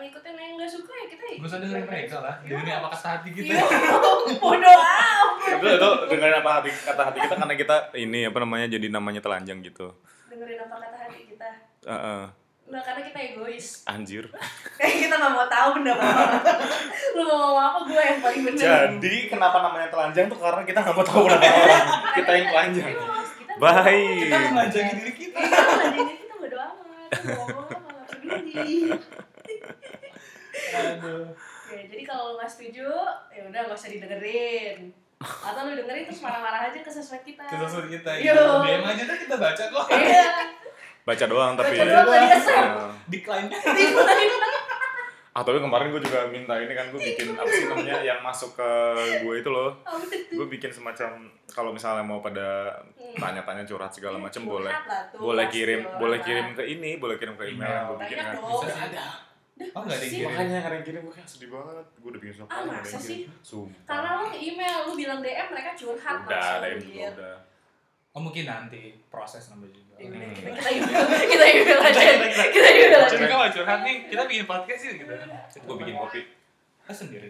ngikutin yang nggak suka ya kita Gak usah dengerin mereka Gitu ya. lah. Iya. Dengerin apa kata hati kita. Iya, bodoh amat. itu itu dengerin apa hati kata hati kita karena kita ini apa namanya jadi namanya telanjang gitu Dengerin apa kata hati kita. Eh, eh, Nah, karena kita egois. anjir Kayak Eh, kita nggak mau tahu pendapat orang. Lu mau ngomong apa gue yang paling bener. jadi kenapa namanya telanjang tuh karena kita nggak mau tahu berapa orang kita yang telanjang Tapi memang Iya, kita bodoh amat. baik Kita mengajangi diri kita. Iya, jadi kita bodoh amat. Lu mau ngomong apa nggak peduli. Aduh. Ya, jadi kalau lu nggak setuju, ya udah nggak usah didengerin. Atau lu dengerin terus marah-marah aja ke sosmed kita. Kita suruh kita. Yo. DM aja tuh kita baca kok. Iya. baca doang tapi Baca doang tadi kesel. Eh, Decline. ah tapi kemarin gue juga minta ini kan gue bikin apa sih namanya yang masuk ke gue itu loh Oh, gitu. gue bikin semacam kalau misalnya mau pada Hmm. tanya-tanya curhat segala macam boleh Iya, Curhat lah tuh, boleh pasti kirim orang. boleh kirim ke ini boleh kirim ke email yang gue Banyak bikin kan dong. Bisa sih ada. Oh nggak ada yang Sih. kirim. Iya, makanya yang ada yang kirim gue kayak sedih banget gue udah bikin Iya, surprise Ah, nggak ada masa yang kirim. sumpah Karena lu email, lu bilang DM mereka curhat udah ada yang gitu. udah Oh mungkin nanti proses nambah juga. Ya udah, Hmm. kita kita email, kita email aja. Kita email aja. Coba mau curhat nih, kita bikin podcast sih gitu. gue bikin kopi Kita sendiri.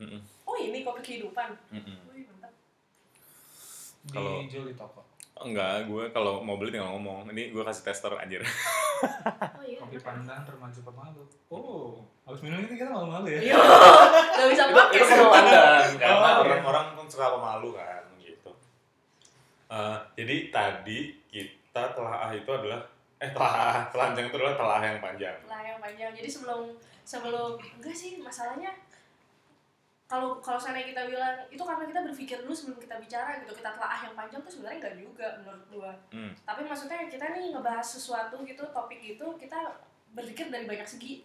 Mm-mm. Oh ini kopi kehidupan. Mm-mm. Wih, mantap. Kalau- Dijual di toko. enggak gue kalau mau beli tinggal ngomong ini gue kasih tester anjir Oh iya. Kopi pandan remaja pemalu. Oh, habis minum itu kita malu-malu ya. Yo, nggak bisa Itu- pakai itu kopi semua. pandan karena Oh, iya. orang-orang kan suka pemalu kan gitu Eh, jadi tadi kita telah ah itu adalah eh telah telanjang itu adalah telah yang panjang lah yang panjang jadi sebelum sebelum enggak sih masalahnya kalau kalau sana kita bilang itu karena kita berpikir dulu sebelum kita bicara gitu kita telah yang panjang tuh sebenarnya enggak juga menurut gua Hmm. tapi maksudnya kita nih ngebahas sesuatu gitu topik itu kita berpikir dari banyak segi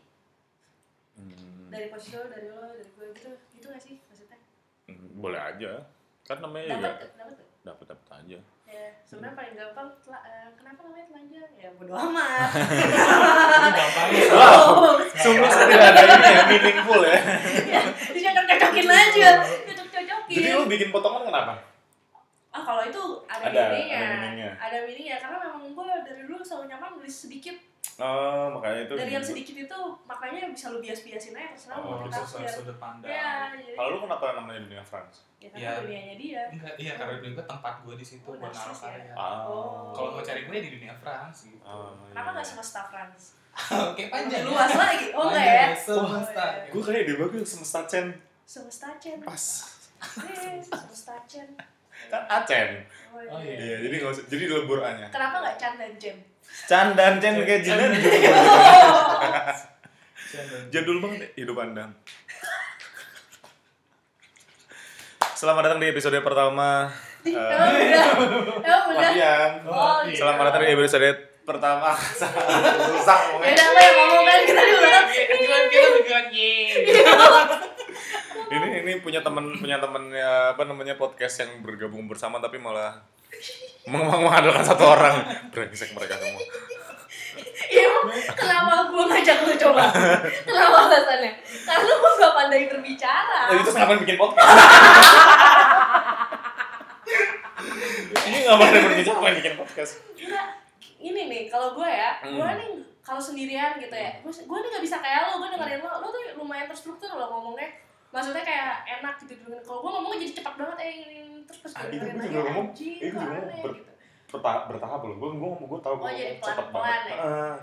Hmm, dari posisi lo dari lo dari gue gitu gitu gak sih maksudnya hmm, boleh aja kan namanya juga dapat dapat dapat dapat aja ya sebenarnya paling gampang tela- eh, kenapa namanya telanjang ya bodo amat Oh, Itu gampang ya. sungguh tidak ada ini Iya. ya meaningful ya ya jadi cocok-cocokin aja cocok-cocokin jadi lu bikin potongan kenapa Ah kalau itu ada, Ada, mininya, ada mininya. ada mininya karena memang gue dari dulu selalu nyaman nulis sedikit. Oh, makanya itu. dari yang sedikit itu maknanya bisa lu bias-biasin aja terserah Oh, mau itu kita sudut sudut pandang. Ya, jadi Kalau lu kenapa namanya dunia France? ya kan Ya. dunianya dia. Enggak, iya karena juga tempat gue di situ Oh, buat naruh narsis ya. karya. Ah. Oh. Kalau mau cari gue ya di dunia France gitu. Ah, Kenapa iya. nggak semesta France? Oke, panjang. ya. Luas lagi, oh enggak ya? Panjang, Semesta. Oh, iya. Gue kayak dia bagus semesta Chen Semesta Chen, pas. Eh, semesta Chen. Kan Acen. Oh, iya. Oh, iya. Iya, jadi nggak usah jadi lebur nya. Kenapa nggak Chan dan Jem? Chan dan Chen kayak Chan. jinan. Jadi Jadul banget ya, hidup Anda. Selamat datang di episode pertama. Di- Eh, Emang udah, emang udah. Latihan. Oh, iya. Selamat datang di episode pertama. Susah Ya ngomongnya. udah, lo yang ngomong kan kita di belakang. Iya, kita berdua ye. Iya, ini ini punya teman punya teman ya, apa namanya podcast yang bergabung bersama tapi malah meng- meng- mengandalkan satu orang brengsek mereka semua Iya, emang kenapa gue ngajak lu coba? Kenapa alasannya? Karena gue gak pandai berbicara. Nah, itu kenapa bikin podcast ini nggak boleh berbicara kenapa bikin podcast Enggak, ini nih kalau gue ya, gue Hmm. nih kalau sendirian gitu ya, gue gue nih gak bisa kayak lo, gue dengerin lo, lo tuh lumayan terstruktur lo ngomongnya. Maksudnya kayak enak gitu dengerin. Kalau gue ngomongnya jadi cepat banget, eh ini, ini, terus pas gue Ah, itu dengerin gua lagi, juga ngomong, anjing, itu kok juga aneh ber- gitu. Berta- bertahap loh gue gue gue tahu Oh, gue jadi cepet pelan-pelan ya? Heeh.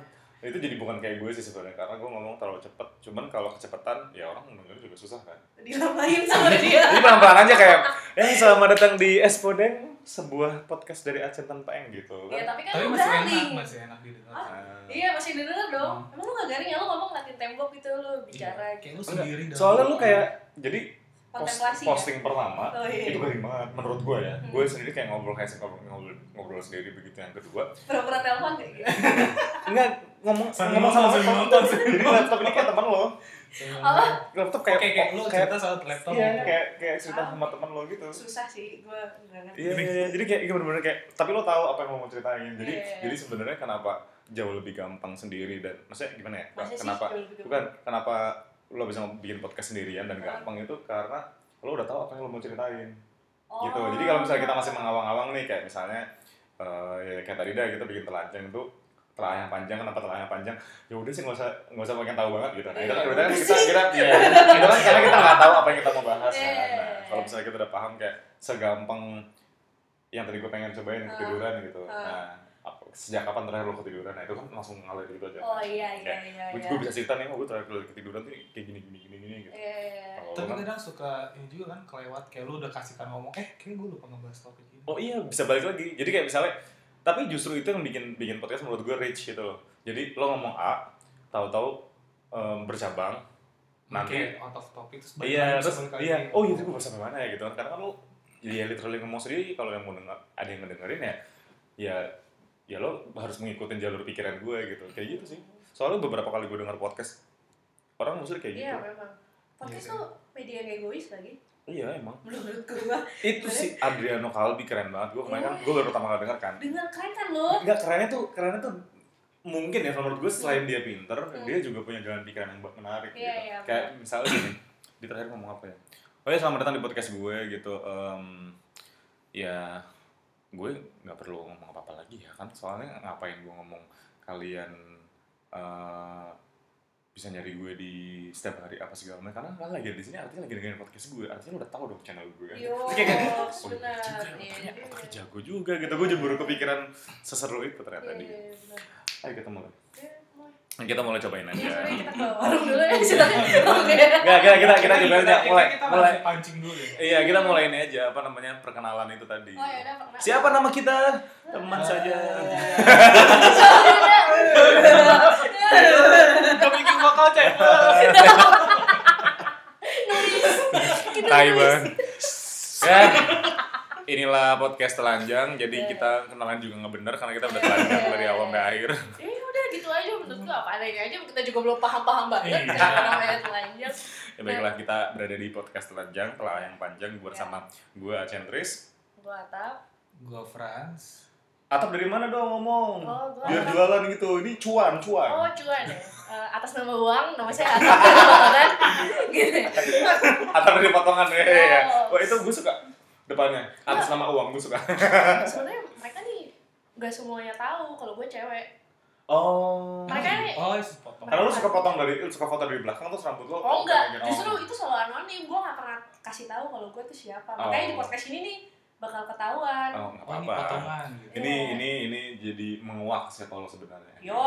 itu jadi bukan kayak gue sih sebenarnya karena gue ngomong terlalu cepet cuman kalau kecepetan ya orang mendengar juga susah kan Dilampain sama Iya. dia. Jadi pelan-pelan aja kayak, eh selamat datang di Espodeng, sebuah podcast dari Aceh tanpa Eng gitu Ya kan. tapi kan Tapi lo masih enak, garing. masih enak Hmm. di Ah, dalam. Nah. Iya masih denger dong. Emang lo gak garing ya lo ngomong ngeliatin tembok gitu Iya, lo bicara Kayak gitu. lu sendiri Enggak. dalam Soalnya lu hidup. kayak jadi pos- Kontemplasi ya. posting pertama Oh, iya. itu garing banget menurut gue ya. Hmm. Gue sendiri kayak ngobrol kayak ngobrol, ngobrol ngobrol sendiri begitu yang kedua. Pura-pura telepon kayak gitu. Iya. Enggak ngomong Sambil ngomong sama nonton, sambil laptop. nonton, Jadi laptop ini kayak teman lo. Apa? Laptop Kayak kayak kayak, kayak lu kayak cerita soal laptop. iya, gitu. kayak kayak cerita Ah. sama teman lo gitu. susah sih gue nggak ngerti Iya, iya, iya. jadi kayak iya bener-bener kayak tapi lo tahu apa yang mau ceritain. Jadi Iya. jadi sebenarnya kenapa jauh lebih gampang sendiri dan maksudnya gimana ya? Masa sih gitu. kenapa jauh lebih gampang? bukan kenapa lo bisa bikin podcast sendirian dan gampang itu karena lo udah tahu apa yang lo mau ceritain. Oh. gitu jadi kalau misalnya kita masih mengawang-awang nih kayak misalnya eh ya kayak tadi dah kita bikin telanjang tuh telah yang panjang kenapa telah yang panjang ya udah sih nggak usah nggak usah pengen tahu banget gitu nah Iya, itu kan udah berarti kan sih. kita kita ya itu kan karena kita nggak tahu apa yang kita mau bahas kan. Iya. nah kalau misalnya kita udah paham kayak segampang yang tadi gue pengen cobain Ah. ketiduran gitu Ah. nah apa- sejak kapan terakhir lo ketiduran nah itu kan langsung ngalir gitu aja oh iya iya iya gue iya gue bisa cerita nih, oh gue terakhir kali ketiduran tuh kayak gini gini gini gini gitu. Iya, iya, iya. Kalau Tapi kan, kadang suka ini juga kan kelewat kayak lu udah kasihkan ngomong, eh kayak gue lupa ngebahas topik ini. oh iya bisa balik lagi. Jadi kayak misalnya, tapi justru itu yang bikin bikin podcast menurut gue rich gitu loh. Jadi lo ngomong A, tahu-tahu em, bercabang, nanti Kayak out of topic terus balik iya lagi, terus balik lagi. iya, oh iya itu gue sampai mana ya gitu kan. Karena kan lo ya literally ngomong sendiri kalau yang mau denger, ada yang ngedengerin ya, ya ya lo harus mengikutin jalur pikiran gue gitu. Kayak gitu sih. Soalnya beberapa kali gue denger podcast orang musuh kayak gitu. Iya memang. Podcast Iya, tuh media yang egois lagi. Iya emang. Menurut gua. itu si Adriano Kalbi keren banget gue kemarin kan gue baru pertama kali denger kan Dengar keren kan lo? nggak kerennya tuh kerennya tuh mungkin ya kalau menurut gue selain dia pinter dia juga punya jalan pikiran yang menarik Hmm. Iya, gitu iya, kayak misalnya gini di terakhir ngomong apa ya oh ya selamat datang di podcast gue gitu Em, ya gue nggak perlu ngomong apa apa lagi ya kan soalnya ngapain gue ngomong kalian eh, bisa nyari gue di setiap hari apa segala macam karena kalian lagi ada di sini artinya lagi dengerin podcast gue artinya lo udah tahu dong channel gue kan Yo, Terus kayak gini, Oh, benar. ya, iya juga, Iya, otaknya, iya. otaknya jago juga gitu. Gue juga baru kepikiran seseru itu ternyata Iya, di. iya, benar. Ayo kita mulai. Iya, mulai. Kita mulai cobain Ya, aja. sebenarnya kita ke warung dulu ya. Oke. Gak, gak, kita kita cobain aja. Mulai, kita mulai. langsung pancing dulu ya. Iya, kita mulai ini aja apa namanya perkenalan itu tadi. Oh ya udah Iya. pernah. Siapa nama kita? Teman Eh. saja. Ya iya. Kami bikin bakal Kita Taiwan. Ya. Inilah podcast telanjang, Iya. jadi kita kenalan juga nggak bener karena kita udah telanjang dari awal sampai akhir. Eh udah gitu aja menurut gua apa adanya aja kita juga belum paham-paham banget. Iya. Jangan namanya telanjang. Ya, baiklah kita berada di podcast telanjang, telah yang panjang, gue Ya. bersama gue Centris. Gua atap. Gue Franz. Atap dari mana dong ngomong? Oh, gua Biar atap. jualan gitu. Ini cuan, cuan. Oh cuan ya. Eh, atas nama uang, nama saya atap kan. Gitu. Atap dari potongan ya. ya, ya. Oh. Wah, itu gue suka depannya. Atas nama uang gue suka. Sebenarnya mereka nih nggak semuanya tahu kalau gue cewek. Oh. Mereka nih Oh, support. Karena lu suka potong dari lu suka foto dari belakang terus rambut lu. Oh enggak, kayak gini. justru itu selalu anonim. Gue nggak pernah kasih tahu kalau gue tuh siapa. Makanya di Oh. podcast ini nih bakal ketahuan. Oh, enggak Oh, ini apa-apa. potongan gitu. Ini ini ini jadi menguak siapa lo sebenarnya. Yo,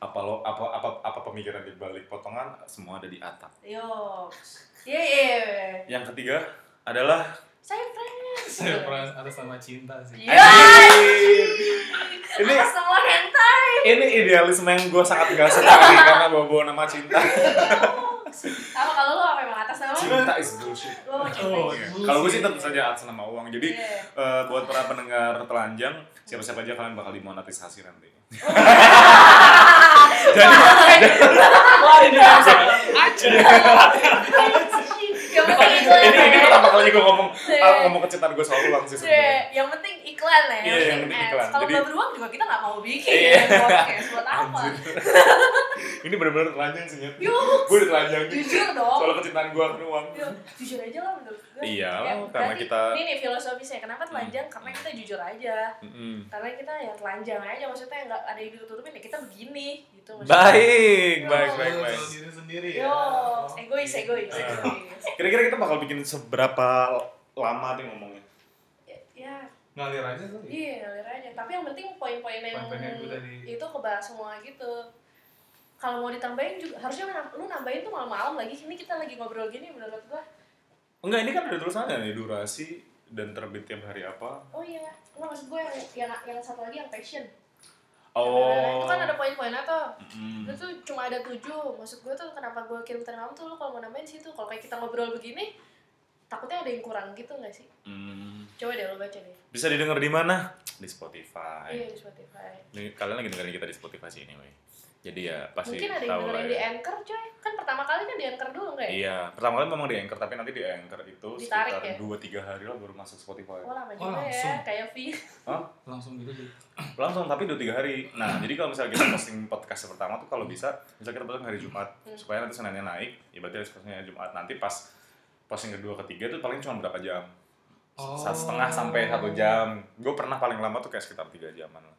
Apa lo apa apa apa pemikiran di balik potongan semua ada di atap. yo. Iya, iya. iya. Yang ketiga adalah Saya friends. Saya Franz Iya, atas nama cinta sih. Iya. Ini- Ini sama hentai. ini idealisme yang gue sangat gak suka nih, karena bawa-bawa nama cinta. Sama kalau lu apa emang atas nama? Cinta is bullshit. Lo Oh, cinta. bullshit. iya. Kalau gue sih tentu saja atas nama uang. Jadi Iya. eh, buat para pendengar telanjang, siapa-siapa aja kalian bakal dimonetisasi nanti. Iya. Jadi Wah, ini langsung. Yang penting iklan. ini ini ya. pertama kali gue ngomong Iya. ah, ngomong kecintaan gue soal uang sih sebenarnya. Iya, yang penting iklan ya. Iya, yang penting ads. iklan. Kalau Jadi- nggak beruang juga kita nggak mau bikin ya, Iya. podcast buat apa? Anjir. ini benar-benar telanjang sih ya. Yuk, Gue udah telanjang nih. jujur dong. Soal kecintaan gue akan uang. Yuk, jujur aja lah menurut gue. Iya, Ya, karena berarti kita- Ini nih filosofisnya. Kenapa telanjang? Karena kita jujur aja. Mm-mm. Karena kita ya telanjang aja. Maksudnya nggak ada yang ditutupin ya kita begini gitu. maksudnya. Baik, baik, baik, Lu baik. jual diri sendiri ya. Eh, Yo, egois, Iya. egois, egois. Kira-kira kita bakal bikin seberapa lama nih ngomongnya? Ya- Ya, Ngalir aja ya. tuh. Iya, ngalir aja. Tapi yang penting poin-poin yang Poin-poin yang udah di- itu kebahas semua gitu. Kalau mau ditambahin juga harusnya lu nam- lu nambahin tuh malam-malam lagi. Ini kita lagi ngobrol gini menurut gua. Enggak, ini kan ada tulisannya nih durasi dan terbit tiap hari apa. Oh iya, nggak maksud gue yang, yang yang satu lagi yang passion. Oh. Itu kan ada poin-poinnya tuh. Mm. Itu tuh cuma ada tujuh. Maksud gue tuh kenapa gue kirim tadi malam tuh lu kalau mau nambahin situ. Kalau kayak kita ngobrol begini, takutnya ada yang kurang gitu nggak sih? Mm. Coba deh lo baca deh. Bisa didengar di mana? Di Spotify. Iya di Spotify. Nih, Kalian lagi dengerin kita di Spotify sih anyway. Jadi ya pasti Mungkin ada yang tahu lah dengerin ya. di Anchor coy. Kan pertama kali kan di Anchor dulu nggak ya? Iya, pertama kali memang di Anchor, tapi nanti di Anchor itu Ditarik sekitar ya? 2-3 hari lah baru masuk Spotify. Oh lama Oh, juga langsung. ya, kayak V. Langsung gitu sih. Langsung, tapi 2-3 hari. Nah, jadi kalau misalnya kita posting podcast pertama tuh kalau bisa, misalnya kita posting hari Jumat, Hmm. supaya nanti Seninnya naik, ya berarti harus postingnya hari Jumat. Nanti pas posting kedua, ketiga tuh paling cuma berapa jam. Oh. Satu setengah sampai satu jam. Gue pernah paling lama tuh kayak sekitar 3 jaman lah.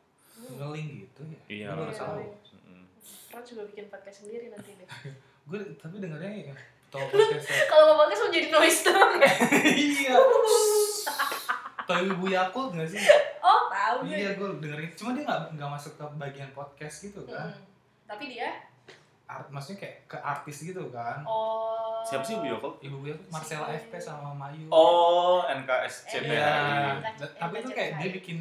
ngeling gitu ya Iya, Gua baru Iya. tahu Mm-mm. Frans juga bikin podcast sendiri nanti deh. gue tapi dengarnya ya tau podcastnya Kalau mau podcast mau jadi noise dong ya. iya tau ibu Yakult nggak sih Oh, tahu gue. iya gue dengerin cuma dia nggak nggak masuk ke bagian podcast gitu kan Mm-mm. Tapi dia Art, maksudnya kayak ke artis gitu kan oh Siapa sih Bio Call? ibu Yakult Marcela Si- FP sama Mayu Oh, NKSCTH. iya NKCTHI. Dan- tapi itu kayak dia bikin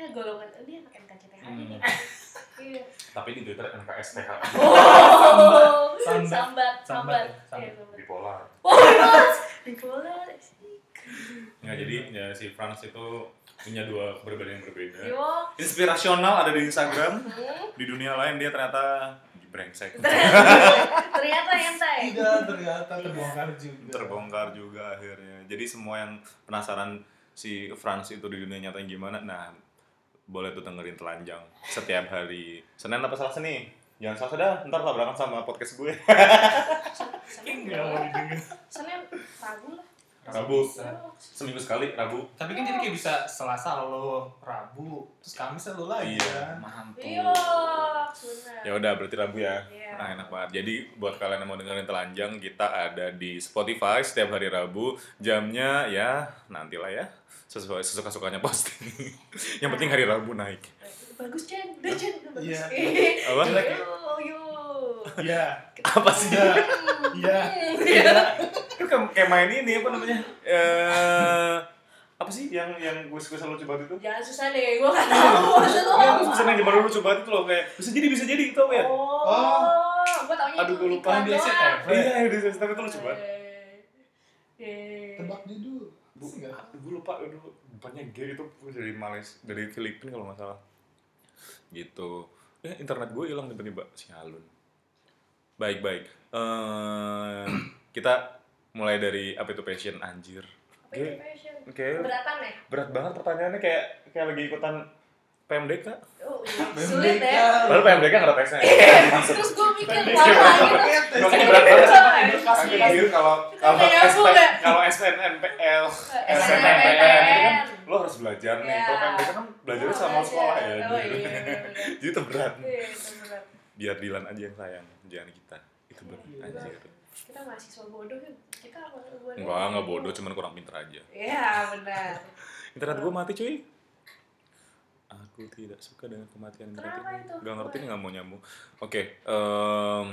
Nah, golongan eh, dia anak NKCTH ini. Hmm. Iya. Tapi di Twitter NKSTH. Oh, Sambat. sambat, sambat. Sambat. Iya, sambat. Bipolar. Oh, Frans. Bipolar. Nggak, jadi ya, si Frans itu punya dua keberbedaan yang berbeda. Yo. Inspirasional ada di Instagram, Hmm. di dunia lain dia ternyata brengsek. Ternyata entai. tidak ternyata Iya. terbongkar juga Terbongkar juga akhirnya. Jadi semua yang penasaran si Frans itu di dunia nyatanya gimana, nah boleh tuh dengerin telanjang setiap hari. Senin apa Selasa nih? Jangan Selasa dah, ntar tabrakan sama podcast gue. Senin ya? enggak mau didengar Senin Rabu lah. Rabu. Besok. Seminggu sekali, Rabu. tapi kan jadi kayak bisa Selasa lo Rabu terus Kamis lo lagi Iya, kan mantul. Iya, benar. Ya udah berarti Rabu ya. Iya. Nah, enak banget. Jadi buat kalian yang mau dengerin telanjang, kita ada di Spotify setiap hari Rabu. Jamnya ya nantilah ya. Sesuai sesuka-sukanya posting. yang penting hari Rabu naik. Bagus Jen, udah Jen, udah bagus. Iya. Eh, Apa? Jelek. Yo, yo. iya Apa sih? Iya. Hmm. Iya. Iya. Itu kayak kayak main ini apa namanya? Eh apa sih yang yang gue gue selalu coba itu? Jangan Ya, susah deh, gue gak tau maksud lo Yang apa. pesan yang baru lu coba itu loh kayak bisa jadi bisa jadi itu apa Iya, ya? Oh, gue taunya Aduh, itu gua lupa. iklan Dia sih doang. F. Iya, di Instagram itu lu coba. Eh, tebak judul Bu, Bisa nggak? gue lupa dulu depannya G itu gue dari Malaysia dari Filipina kalau nggak salah gitu ya internet gue hilang tiba-tiba sialun baik baik Eh, kita mulai dari apa itu passion anjir Apa itu fashion? oke Keberatan ya? berat banget pertanyaannya kayak kayak lagi ikutan PMDK Oh, iya. sulit ya. lalu PMDK kan nggak ada tesnya Iya, kan. Terus gue mikir Iya. Pendek. lama gitu. Makanya berat banget. Kasih, Anjir, anjir, kalau kalau Kayak Iya, aku SP nggak. kalau SNMPL SNMPTN. kan lo harus belajar nih Iya. kalau PMDK kan belajarnya Oh, sama belajar. sekolah Oh, ya anjir. iya, bener-bener. jadi itu berat Iya, itu berat. biar Dilan aja yang sayang jangan kita itu berat Iya. anjir Kita mahasiswa bodoh kan? Kita apa bodoh? enggak enggak bodoh cuman kurang pinter aja Iya, benar. internet gua mati cuy aku tidak suka dengan kematian internet Kenapa ini itu? nggak ngerti nih nggak mau nyambung oke em,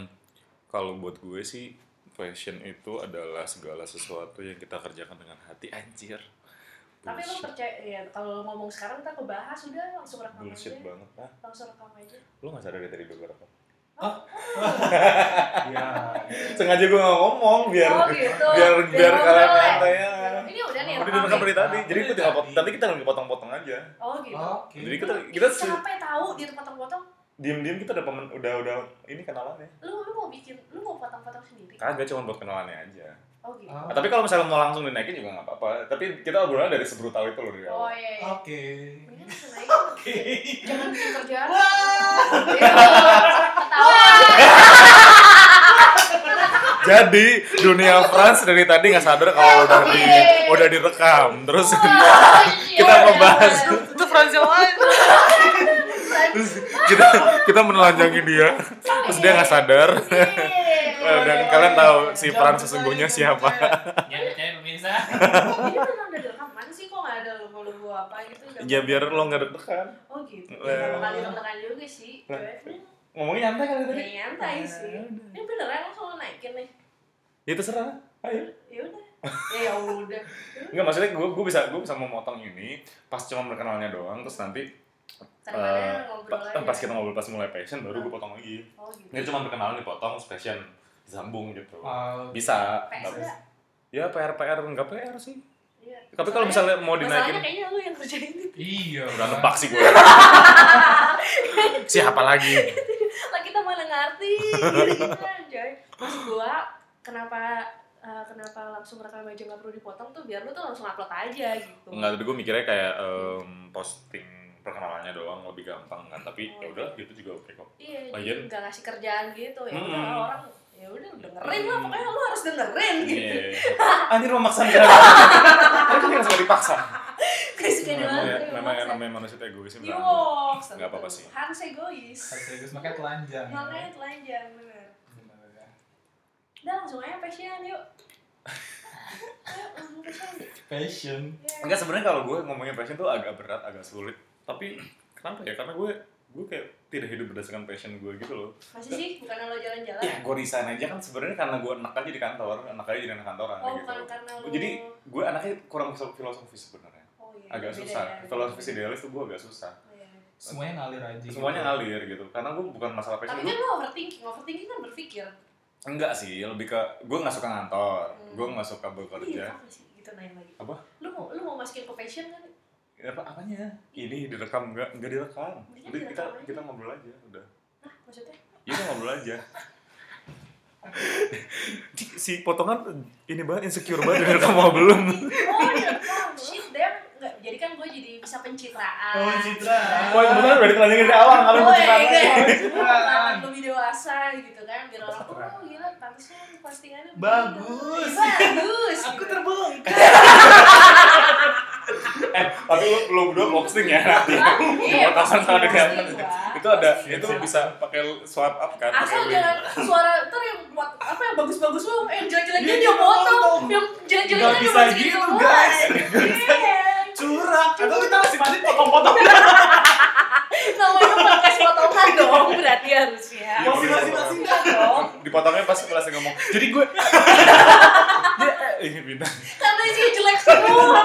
kalau buat gue sih fashion itu adalah segala sesuatu yang kita kerjakan dengan hati anjir Tapi lo bullshit, percaya, ya kalau ngomong sekarang kita kebahas udah langsung rekam bullshit aja. banget ah Langsung rekam aja. lu nggak sadar dari tadi beberapa iya sengaja gue nggak ngomong biar oh gitu. biar biar kalian ngobrol ya. santai ya Ini udah nih. Udah rekam nih. direkam dari tadi, jadi iya. Udah kita tinggal tadi. pot- nanti kita tinggal potong-potong aja. Oh gitu. oke Jadi kita kita Ih, capek tahu dia tuh potong-potong. diam-diam kita udah pemen- udah udah ini kenalannya. Lu lu mau bikin, lu mau potong-potong sendiri. Kagak cuma buat kenalannya aja. Oh gitu. Ah, Nah, tapi kalau misalnya mau langsung dinaikin juga nggak apa-apa. Tapi kita obrolan dari sebrutal itu loh Oh dari awal. iya. iya. oke Mendingan langsung aja. Jangan bikin kerjaan. Iya. Jadi dunia France dari tadi nggak sadar kalau udah di Oke. udah direkam. Terus Oh, iya. Ketawa. Kita membahas. itu Fransil lain terus kita kita menelanjangi dia. Terus dia nggak sadar. Iya. Dan kalian tahu si Frans sesungguhnya siapa. ya percaya pemirsa Ini beneran udah rekaman sih kok nggak ada logo-logo apa gitu. nggak Ya apa-apa. biar lo nggak deg-degan. Oh gitu. Eh. Pertama kali tekan juga sih. Nah. Cuman Ngomongnya nyantai kali tadi. ya nyantai sih. Ini beneran langsung lo naikin nih. Ya terserah. Ayo. Ya udah. Ya udah. Enggak maksudnya gue gue bisa gue bisa memotong ini pas cuma berkenalnya doang terus nanti Terkadang ngobrol Eh, ya? pa- aja. pas kita ngobrol pas mulai passion baru gue potong lagi. Oh gitu. Ini cuma berkenalan dipotong terus passion disambung gitu. Oh, Bisa. PS tapi- enggak? Ya PR PR enggak PR sih. Iya. Tapi kalau misalnya Masalahnya mau gitu. dinaikin kayaknya lu yang kerjain itu. iya udah nebak sih gue. Siapa lagi? Lah kita mana ngerti gitu aja. Maksud gua kenapa eh, kenapa langsung rekam aja nggak perlu dipotong tuh biar lu tuh langsung upload aja gitu. Enggak, tapi gue mikirnya kayak em, posting perkenalannya doang lebih gampang kan. Tapi ya udah gitu juga oke kok. Iya, Lagian- jadi nggak ngasih kerjaan gitu ya. Oh, Mm-mm. udah orang ya udah dengerin lah pokoknya lu harus Iya. dengerin gitu. Anjir memaksa kita. Tapi kan nggak usah dipaksa. Chris kayak memang di ya, lantai, memang di yang lantai. namanya manusia itu egoisnya Di berantem. walks tentu. Nggak apa-apa sih. Harus egois. Serius makanya telanjang. Makanya telanjang bener. Bener ya. Udah langsung aja passion yuk. Ayo langsung passion. Fashion. Yeah. Enggak sebenarnya kalau gue ngomongin passion tuh agak berat, agak sulit. Tapi kenapa ya? Karena gue gue kayak tidak hidup berdasarkan passion gue gitu loh. Masih sih bukan lo jalan-jalan. Ya gue resign aja kan sebenarnya karena gue enak aja di kantor, enak aja jadi anak kantoran Oh gitu. bukan karena lo. Jadi gue anaknya kurang filosofis sebenarnya. Oh, iya, Agak beda susah. ya. Filosofis idealis tuh gue agak susah. Oh, iya. Semuanya ngalir aja. Semuanya ngalir gitu. Karena gue bukan masalah passion. Tapi Gue kan lo overthinking, overthinking kan berpikir. enggak sih, lebih ke gue nggak suka ngantor, Hmm. gue nggak suka Iya, bekerja. apa sih? Gitu naik lagi. Apa? Ya, Lu mau lu mau masukin ke passion kan? Apa apanya? Ini direkam enggak? Enggak direkam. Ini Udah, kita direkam aja. kita ngobrol aja udah. Nah, maksudnya Iya kita ngobrol aja. si potongan ini banget insecure banget dengan kamu belum. Oh, iya. Oh, shit, damn. Nggak, jadi kan gue jadi bisa pencitraan. Oh, pencitraan. Wah kebetulan udah ditelanjangin dari awal Oh, kalian iya, pencitraan iya. lagi. Pencitraan. Pencitraan lebih dewasa gitu kan biar orang Pencitraan. oh gila pantasnya postingannya begini. Bagus. Ih, bagus. Aku gitu. terbongkar. Eh tapi lu lu berdua posting ya nanti. Iya, Botasan posting, sama dengan posting gua. itu ada Posting. itu bisa pakai swipe up kan. pakai Asal link. jangan suara ntar yang buat apa yang bagus-bagus lu, eh, yang jelek-jeleknya Iya, dia potong, yang jelek-jeleknya Nggak dia bisa masukin gitu, keluar. guys. Iya. Curang. Atau kita masih mati potong-potong. Namanya podcast potongan dong, berarti harusnya. Iya, Masing-masing. Iya dong. Dipotongnya pas kelas ngomong. Jadi gue dia eh, ini bintang. Karena isinya jelek semua.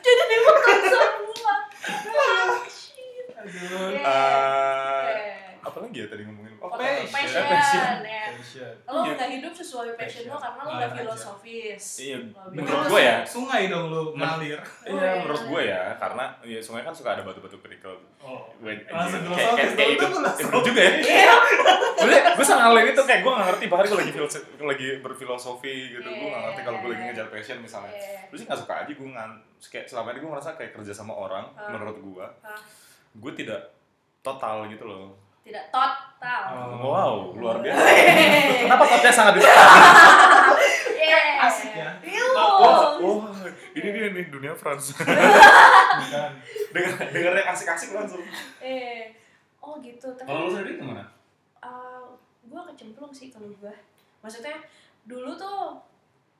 Jadi dipotong semua. Ah, shit. Aduh. Eh, Eh, apa lagi ya tadi ngomongin? Oh, potong Passion. passion. Passion. ya. Fashion. Lo Iya. nggak hidup sesuai passion lo karena lo Ngalir nggak aja. filosofis. Iya, Lo menurut bilang, gue ya. Sungai dong lu Men- ngalir. Iya. Iya, menurut gue ya, karena ya, sungai kan suka ada batu-batu kerikil. Oh. Gue- Langsung kayak- filosofis, kayak- kayak dong, ikut- itu langsung. ikut juga ya. Iya, Gue gue sangat ngalamin itu kayak gue gak ngerti bahkan gue lagi filosof- lagi berfilosofi gitu. Gue gak ngerti kalau gue lagi ngejar passion misalnya. Iya. Gue sih gak suka aja gue ngan kayak selama ini gue merasa kayak kerja sama orang Ah. menurut gue Ah. gue tidak total gitu loh. Tidak total. Oh. Hmm. Wow, luar biasa. Hehehe. Kenapa topnya sangat ditekan? Yeah. Asik ya. Iya. Wah, wah, ini dia nih dunia Frans. Bukan. Dengar dengarnya asik-asik langsung. Eh. Oh gitu. Tapi Kalau lu sendiri gimana? eh, gua kecemplung sih kalau gua. Maksudnya dulu tuh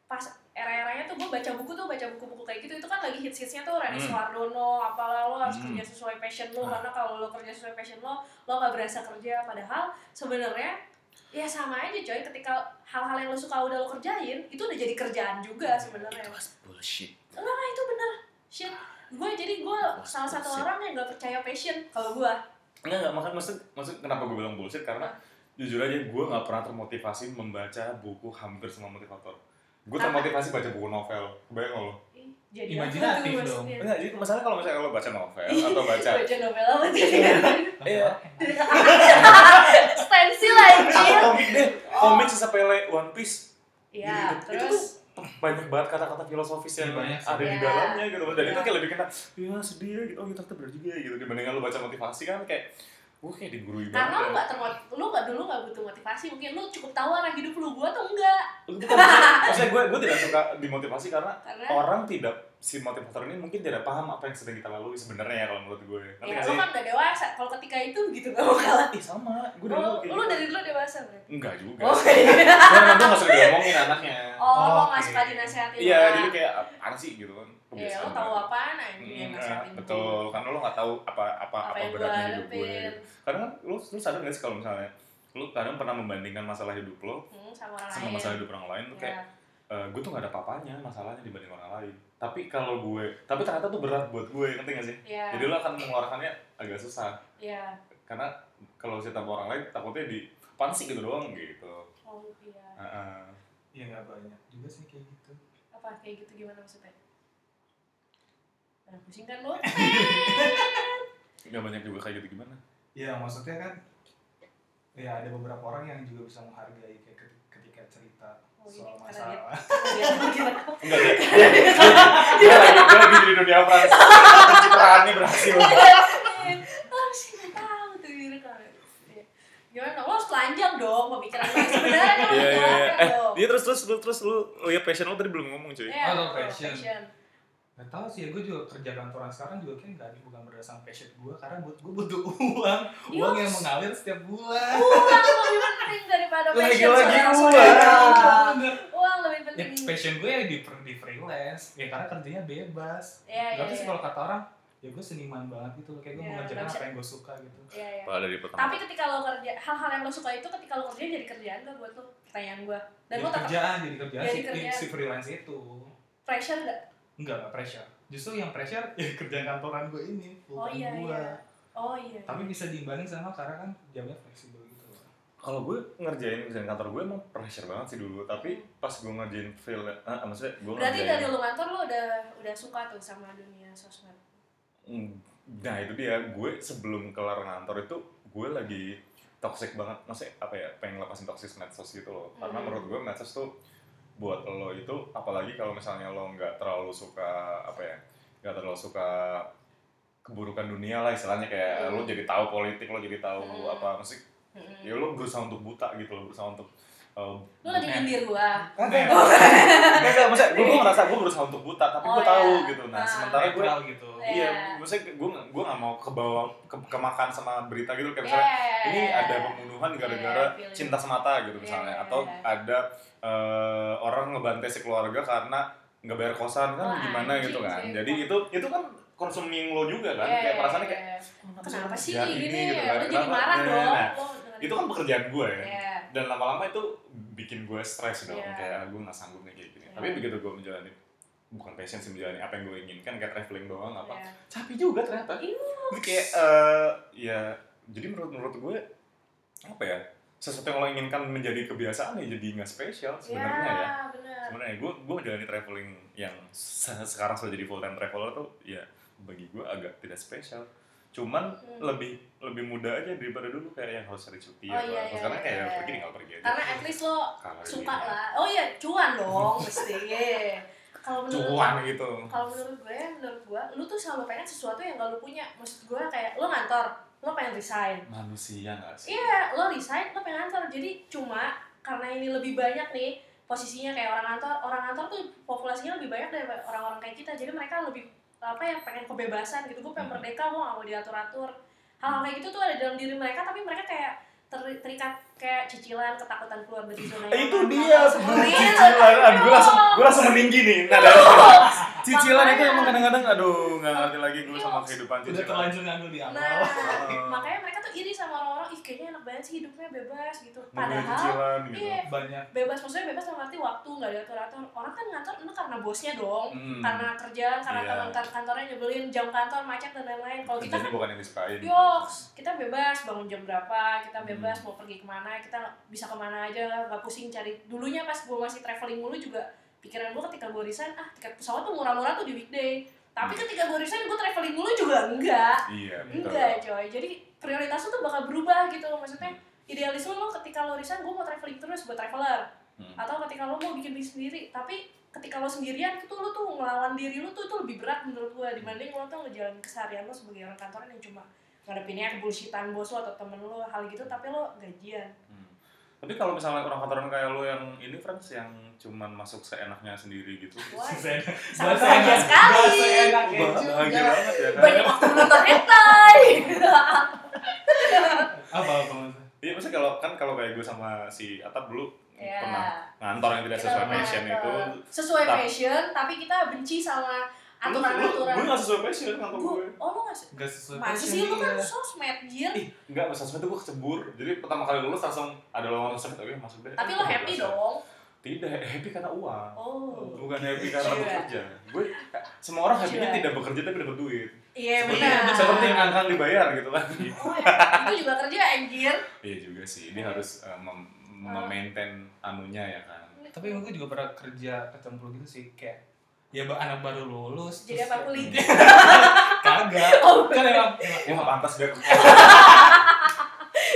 pas era-eranya tuh gua baca buku tuh baca buku-buku kayak gitu itu kan lagi hits-hitsnya tuh Rani Hmm. Suwardono apalah lo harus Hmm. kerja sesuai passion lo Ah. karena kalau lo kerja sesuai passion lo lo nggak berasa kerja padahal sebenarnya ya sama aja coy ketika hal-hal yang lo suka udah lo kerjain itu udah jadi kerjaan juga sebenarnya bullshit. enggak enggak itu bener shit gue jadi gue salah satu bullshit. orang yang gak percaya passion kalau gue Enggak, enggak, makanya maksud, maksud kenapa gue bilang bullshit karena jujur aja gue nggak pernah termotivasi membaca buku hampir semua motivator. Gue Karena- termotivasi baca buku novel, kebayang lo? Ih, jadi Imajinatif apa tuh dong. maksudnya? Enggak, jadi masalahnya kalau misalnya lo baca novel Iya. atau baca baca novel apa tuh Iya. stensil atau anjir komik deh, komik sesepele One Piece gitu, ya Itu- itu terus banyak banget kata-kata filosofis yang Iya, banyak sih. ada di Iya. dalamnya gitu dan itu Iya. kayak lebih kena ya sedih ya gitu oh ya ternyata benar juga ya gitu dibandingkan lo baca motivasi kan kayak gue kayak digurui banget karena lu ya. gak termot lu gak dulu gak butuh motivasi mungkin lu cukup tahu arah hidup lu gue tuh enggak Bukan, maksudnya- kan, maksudnya gue gue tidak suka dimotivasi karena karena orang tidak si motivator ini mungkin tidak paham apa yang sedang kita lalui sebenarnya ya kalau menurut gue. ya Ngerti nggak lu sih? kan udah dewasa kalau ketika itu gitu gak mau kalah Ih sama, gue dari dulu lu, kayak lu gitu. dari dulu dewasa berarti Enggak juga. oh, Gue emang gue nggak sering ngomongin anaknya. oh lo Oke. gak suka dinasehatin Iya, orang. jadi kayak apaan sih gitu kan. Oh, Iya, Kebiasaan. lo tahu apaan Mm, anjing yang eh, nasihatin betul, karena lo nggak tahu apa apa apa, Apa yang gue beratnya hidup gue. hadapin Karena kan lo lo sadar nggak sih kalau misalnya lo kadang pernah membandingkan masalah hidup lo hmm, sama orang sama lain. masalah hidup orang lain tuh kayak Ya. eh, gue tuh nggak ada apa-apanya masalahnya dibanding orang lain. Tapi kalau gue, tapi ternyata tuh berat buat gue, ngerti nggak sih? Ya, Jadi lo akan mengeluarkannya agak susah. ya. karena kalau cerita sama orang lain takutnya di pansi gitu doang gitu Oh, iya. Heeh. Iya nggak banyak juga sih kayak gitu. Apa kayak gitu gimana maksudnya? Nah, pusing kan lo? nggak banyak juga kayak gitu gimana Ya maksudnya kan ya ada beberapa orang yang juga bisa menghargai kayak keti- ketika cerita Oh, iya, soal karena masalah. Iya, gimana? enggak deh gue lagi gue lagi di dunia Frans pencitraannya berhasil Oh, sih nggak tahu tuh diri kalau. Iya. Gimana? Lo harus telanjang dong pemikiran lo sebenarnya lo iya harus Oh, iya iya telanjang eh dong. dia terus terus lu terus lu lihat passion lu tadi belum ngomong cuy Iya, Oh, lo lo fashion. fashion. Gak tau sih ya, gue juga kerja kantoran sekarang juga kayak nggak bukan berdasarkan passion gue karena buat gue butuh uang, uang yang Yes. mengalir setiap bulan. uang lebih penting daripada passion Lagi-lagi saudara-saudara. uang. uang lebih Ya, penting passion gue ya di, di freelance, ya karena kerjanya bebas. ya ya Tapi ya. kalau kata orang, ya gue seniman banget gitu, kayak gue Ya, mengerjakan nggak bisa. apa yang gue suka gitu. Ya, ya. Padahal dari pertama. tapi ketika lo kerja hal-hal yang lo suka itu ketika lo kerja jadi kerjaan gak buat lo pertanyaan gue dan Jadi lo tetap kerjaan, jadi kerjaan, Jadi si, kerjaan. si freelance itu. pressure gak Enggak, enggak pressure. Justru yang pressure ya kerjaan kantoran gue ini, oh bukan iya gue. iya oh iya Tapi bisa diimbangin sama karena kan jamnya fleksibel gitu. loh. kalau gue ngerjain kerjaan kantor gue emang pressure banget sih dulu tapi pas gue ngerjain freelance ah, maksudnya gue berarti ngerjain dari lo kantor lo udah udah suka tuh sama dunia sosmed Mm, nah itu dia gue sebelum kelar ngantor itu gue lagi toxic banget maksudnya apa ya pengen lepasin toxic medsos gitu loh karena Hmm. menurut gue medsos tuh buat lo itu apalagi kalau misalnya lo nggak terlalu suka apa ya nggak terlalu suka keburukan dunia lah istilahnya kayak Hmm. lo jadi tahu politik lo jadi tahu Hmm. apa mesti Mm-mm. ya lo berusaha untuk buta gitu lo berusaha untuk uh, lo lagi net- nyindir gua Oh, Kan? iya. Net. Enggak, enggak, maksudnya gue gue ngerasa gue berusaha untuk buta, tapi Oh, gue tahu iya. gitu. Nah, Ah. sementara gue Netral gitu. Iya. iya, maksudnya gue gue nggak mau kebawa ke, kemakan sama berita gitu kayak Ya, misalnya ya, ya, ini ya. ada pembunuhan gara-gara Iya, feeling. cinta semata gitu misalnya Iya, atau iya. ada eh, orang ngebantai sekeluarga karena nggak bayar kosan kan Wah, gimana anjing gitu kan. sih. Jadi itu itu kan consuming lo juga kan. Iya, kayak iya, perasaannya kayak iya. kenapa sih Ya, gini, ini gini gitu ya kan. lo jadi Kenapa? marah Nah, dong nah, Lo- itu kan pekerjaan gue ya Iya. dan lama-lama itu bikin gue stres dong Iya. kayak gue nggak sanggup nih kayak gini Iya. tapi begitu gue menjalani bukan passion sih menjalani apa yang gue inginkan kayak traveling doang apa Iya. capek juga ternyata Iya. Jadi kayak eh, ya jadi menurut menurut gue apa ya sesuatu yang lo inginkan menjadi kebiasaan ya jadi nggak spesial sebenarnya ya Ya, benar. sebenarnya gue gue menjalani traveling yang se- sekarang sudah jadi full time traveler tuh ya bagi gue agak tidak spesial cuman Hmm. lebih lebih muda aja daripada dulu kayak yang harus cari cuti Oh, apa iya, iya, karena kayak iya, iya. pergi tinggal pergi aja Karena at least lo Kalau suka ini, lah. Oh iya, cuan dong mesti. Kalau cuan menurut gitu kalau menurut gue, menurut gue, lu tuh selalu pengen sesuatu yang gak lu punya. Maksud gue kayak lo ngantor, lo pengen resign. manusia nggak sih Iya, lo resign, lo pengen ngantor. Jadi cuma karena ini lebih banyak nih posisinya kayak orang ngantor, orang ngantor tuh populasinya lebih banyak dari orang-orang kayak kita. Jadi mereka lebih apa ya pengen kebebasan gitu. Gue pengen Hmm. merdeka, gue gak mau diatur-atur. Hal-hal kayak gitu tuh ada dalam diri mereka, tapi mereka kayak ter- terikat kayak cicilan, ketakutan keluar dari zona Eh, itu nyaman, Nah, dia hal-hal sebelum seperti itu. cicilan aduh gue langsung Aduh. gue langsung meninggi nih nah, cicilan itu Makanya. emang kadang-kadang aduh nggak ngerti lagi gue sama Iya. kehidupan Udah cicilan terlanjur ngandung di awal. Nah, Oh. makanya mereka tuh iri sama orang-orang, ih kayaknya enak banget sih hidupnya bebas gitu. mau beli Padahal cicilan gitu Iya, Banyak bebas maksudnya bebas dalam arti waktu nggak diatur atur orang kan ngantor itu karena bosnya dong Hmm. karena kerjaan karena Iya. teman kan- kantornya nyebelin jam kantor macet dan lain-lain kalau kita kerjanya kan bukan yang disukain gitu. yoks kita bebas bangun jam berapa kita Hmm. bebas mau pergi kemana kita bisa kemana aja nggak pusing cari dulunya pas gue masih traveling mulu juga pikiran gue ketika gue resign ah tiket pesawat tuh murah-murah tuh di weekday Hmm. tapi ketika gue resign gue traveling mulu juga enggak iya betul enggak coy jadi prioritas lu tuh bakal berubah gitu maksudnya idealis lu lo ketika lo resign gue mau traveling terus buat traveler Hmm. atau ketika lo mau bikin bisnis sendiri tapi ketika lo sendirian itu lo tuh ngelawan diri lo tuh itu lebih berat menurut gue dibanding lo tuh ngejalanin keseharian lo sebagai orang kantoran yang cuma ngadepinnya kebullshitan bos lo atau temen lo hal gitu tapi lo gajian Hmm. Tapi kalau misalnya orang kantoran kayak lo yang ini Frans yang cuman masuk seenaknya sendiri gitu. Wah, sangat Bahasa bahagia enak- sekali. bahasa ya. enaknya Bah- juga. bahagia banget ya kan. banyak waktu nonton hentai Apa apa Mas? Iya, maksudnya kalau kan kalau kayak gue sama si Atap dulu ya pernah ngantor yang tidak kita sesuai pernah passion itu. nonton. sesuai Tapi- passion tapi kita benci sama Lu- lu- Gue aturan-aturan nggak sesuai passion kantor gue gue. oh lo nggak Gak sesuai Masa passion sih lu dia. kan sosmed Iya. anjir. Enggak, pas sosmed itu gue kecebur. Jadi pertama kali lulus langsung ada lowongan sosmed, tapi masuk deh. Tapi lo happy dong. Tidak, happy karena uang. Oh. Bukan happy karena Iya. bekerja. Gue semua orang happy-nya Iya. tidak bekerja tapi dapat duit. Iya Seperti- benar. Seperti ngangkang dibayar gitu kan. Oh, ya. Itu juga kerja anjir. Iya juga sih, dia harus eh, mem- memaintain anunya ya kan. Tapi emang gue juga pernah kerja kecemplung gitu sih kayak ya ba- anak baru lulus Jadi terus apa kayak- kulit? kagak Oh. kan emang, emang- Ya nggak pantas dia ke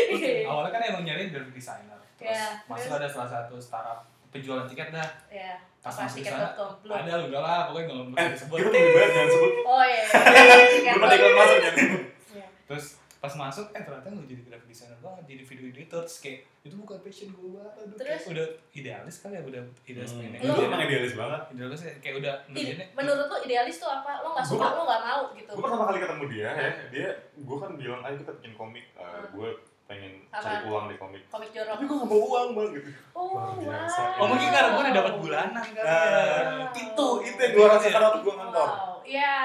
Iya. awalnya kan emang nyari graphic designer terus Iya, masuk ada salah satu startup penjualan tiket dah Iya. Pas Pas masuk sana, tiket.com belum. ada lu enggak lah pokoknya nggak mau Eh, sebut kita tuh lebih banyak jangan sebut. Oh iya. Belum ada iklan masuk jangan sebut. terus pas masuk eh ternyata gue jadi graphic designer banget jadi video editor terus kayak itu bukan passion gue banget aduh kayak Terus? udah idealis kali ya udah Iya. idealis Hmm. pengennya Lu- Itu emang idealis banget. idealis ya, kayak udah Ih, ngerjainnya menurut lo idealis tuh apa? Lo nggak Gua- suka, lo nggak mau gitu. Gue pertama kali ketemu dia Iya. ya, dia gue kan bilang ayo kita bikin komik, Eh, Hmm. gue pengen Apa? cari pulang di komik. Komik Tapi jorok. gue gak mau uang bang gitu. Oh, Luar wow. biasa. oh mungkin karena gue udah dapat bulanan Iya. kan Nah, Wow. itu itu yang gue rasakan waktu gue ngantor. Wow, iya.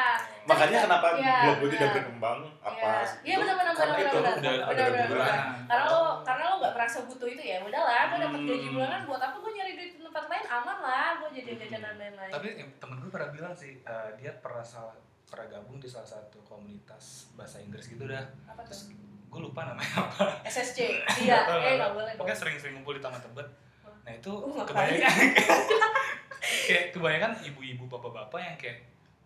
Makanya kenapa Iya, blog gue tidak benar. berkembang apa? Iya. gitu. Iya, benar-benar, Karena itu benar-benar. udah ada Benar-benar, dapat bulanan. benar. karena lo karena lo nggak merasa butuh itu ya udahlah gue dapat Hmm. gaji bulanan buat apa gue nyari duit di tempat lain aman lah gue jajan jajanan lain lain tapi eh, temen gue pernah bilang sih eh, dia pernah salah pernah gabung di salah satu komunitas bahasa Inggris gitu dah apa tuh gue lupa namanya apa SSC iya tahu, eh nggak nggak boleh dong pokoknya sering-sering ngumpul di taman tebet nah itu Uh, ngapain? kebanyakan kayak kebanyakan ibu-ibu bapak-bapak yang kayak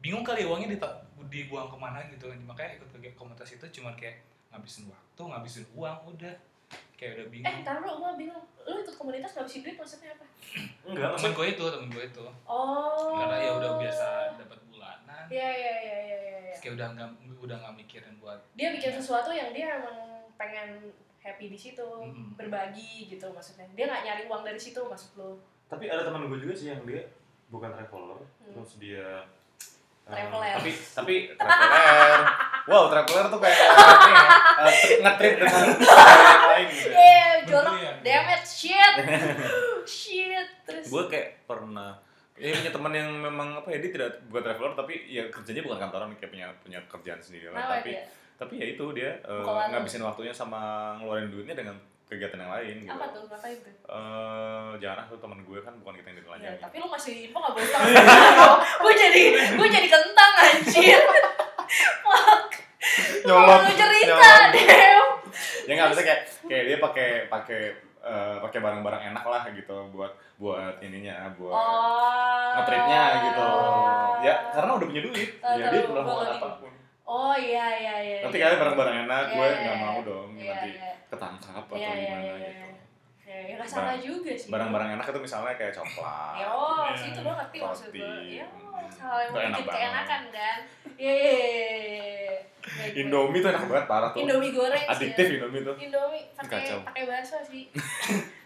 bingung kali uangnya dita- dibuang kemana gitu makanya ikut ke komunitas itu cuman kayak ngabisin waktu ngabisin uang udah kayak udah eh bingung taruh lo gue bingung lo ikut komunitas nggak bisa duit maksudnya apa Enggak, temen gue itu temen gue itu oh karena ya udah biasa dapat bulanan iya iya iya iya iya, iya terus kayak udah nggak udah nggak mikirin buat Iya. dia bikin sesuatu yang dia emang pengen happy di situ Mm-mm. berbagi gitu maksudnya dia nggak nyari uang dari situ maksud lo tapi ada teman gue juga sih yang dia bukan traveler Hmm. terus dia eh, Traveler. tapi tapi traveler wow traveler tuh kayak ini ya, eh, tri- ngetrit dengan traveler yang lain Iya. gitu ya. eh jorok Berlian. damn it shit shit terus gue kayak pernah ya punya teman yang memang apa ya dia tidak bukan traveler tapi ya kerjanya bukan kantoran kayak punya punya kerjaan sendiri lah Kenapa tapi dia? tapi ya itu dia eh, Buka warung. ngabisin waktunya sama ngeluarin duitnya dengan kegiatan yang lain gitu apa tuh ngapain tuh Eh, jangan ah, tuh teman gue kan bukan kita yang Ya, gitu. ditelanjangi tapi lu masih info gak boleh tahu. gue jadi gue jadi kentang anjir. Fuck. Nyolot, Lu cerita, nyolot. Dev. ya nggak bisa kayak kayak dia pakai pakai eh, pakai barang-barang enak lah gitu buat buat ininya buat Oh. ngetritnya gitu ya karena udah punya duit Eh, ya dia tahu, udah mau gua ngerti. apapun Oh iya iya iya. nanti iya. kali barang-barang enak Iya, gue iya, nggak iya. mau dong Iya, nanti iya. ketangkap atau Iya, iya, gimana iya, iya. gitu Ya, ya nggak salah juga sih. barang-barang enak itu misalnya kayak coklat Ya, oh, Iya. situ lo ngerti maksud gue. Roti. Ya, hal yang Iya. Itu enak bikin banget. keenakan kan. Iya, iya, iya, iya. Baik, baik. Indomie tuh enak banget parah tuh Indomie goreng. sih. adiktif Indomie tuh Indomie pakai Kacau. pakai bakso sih.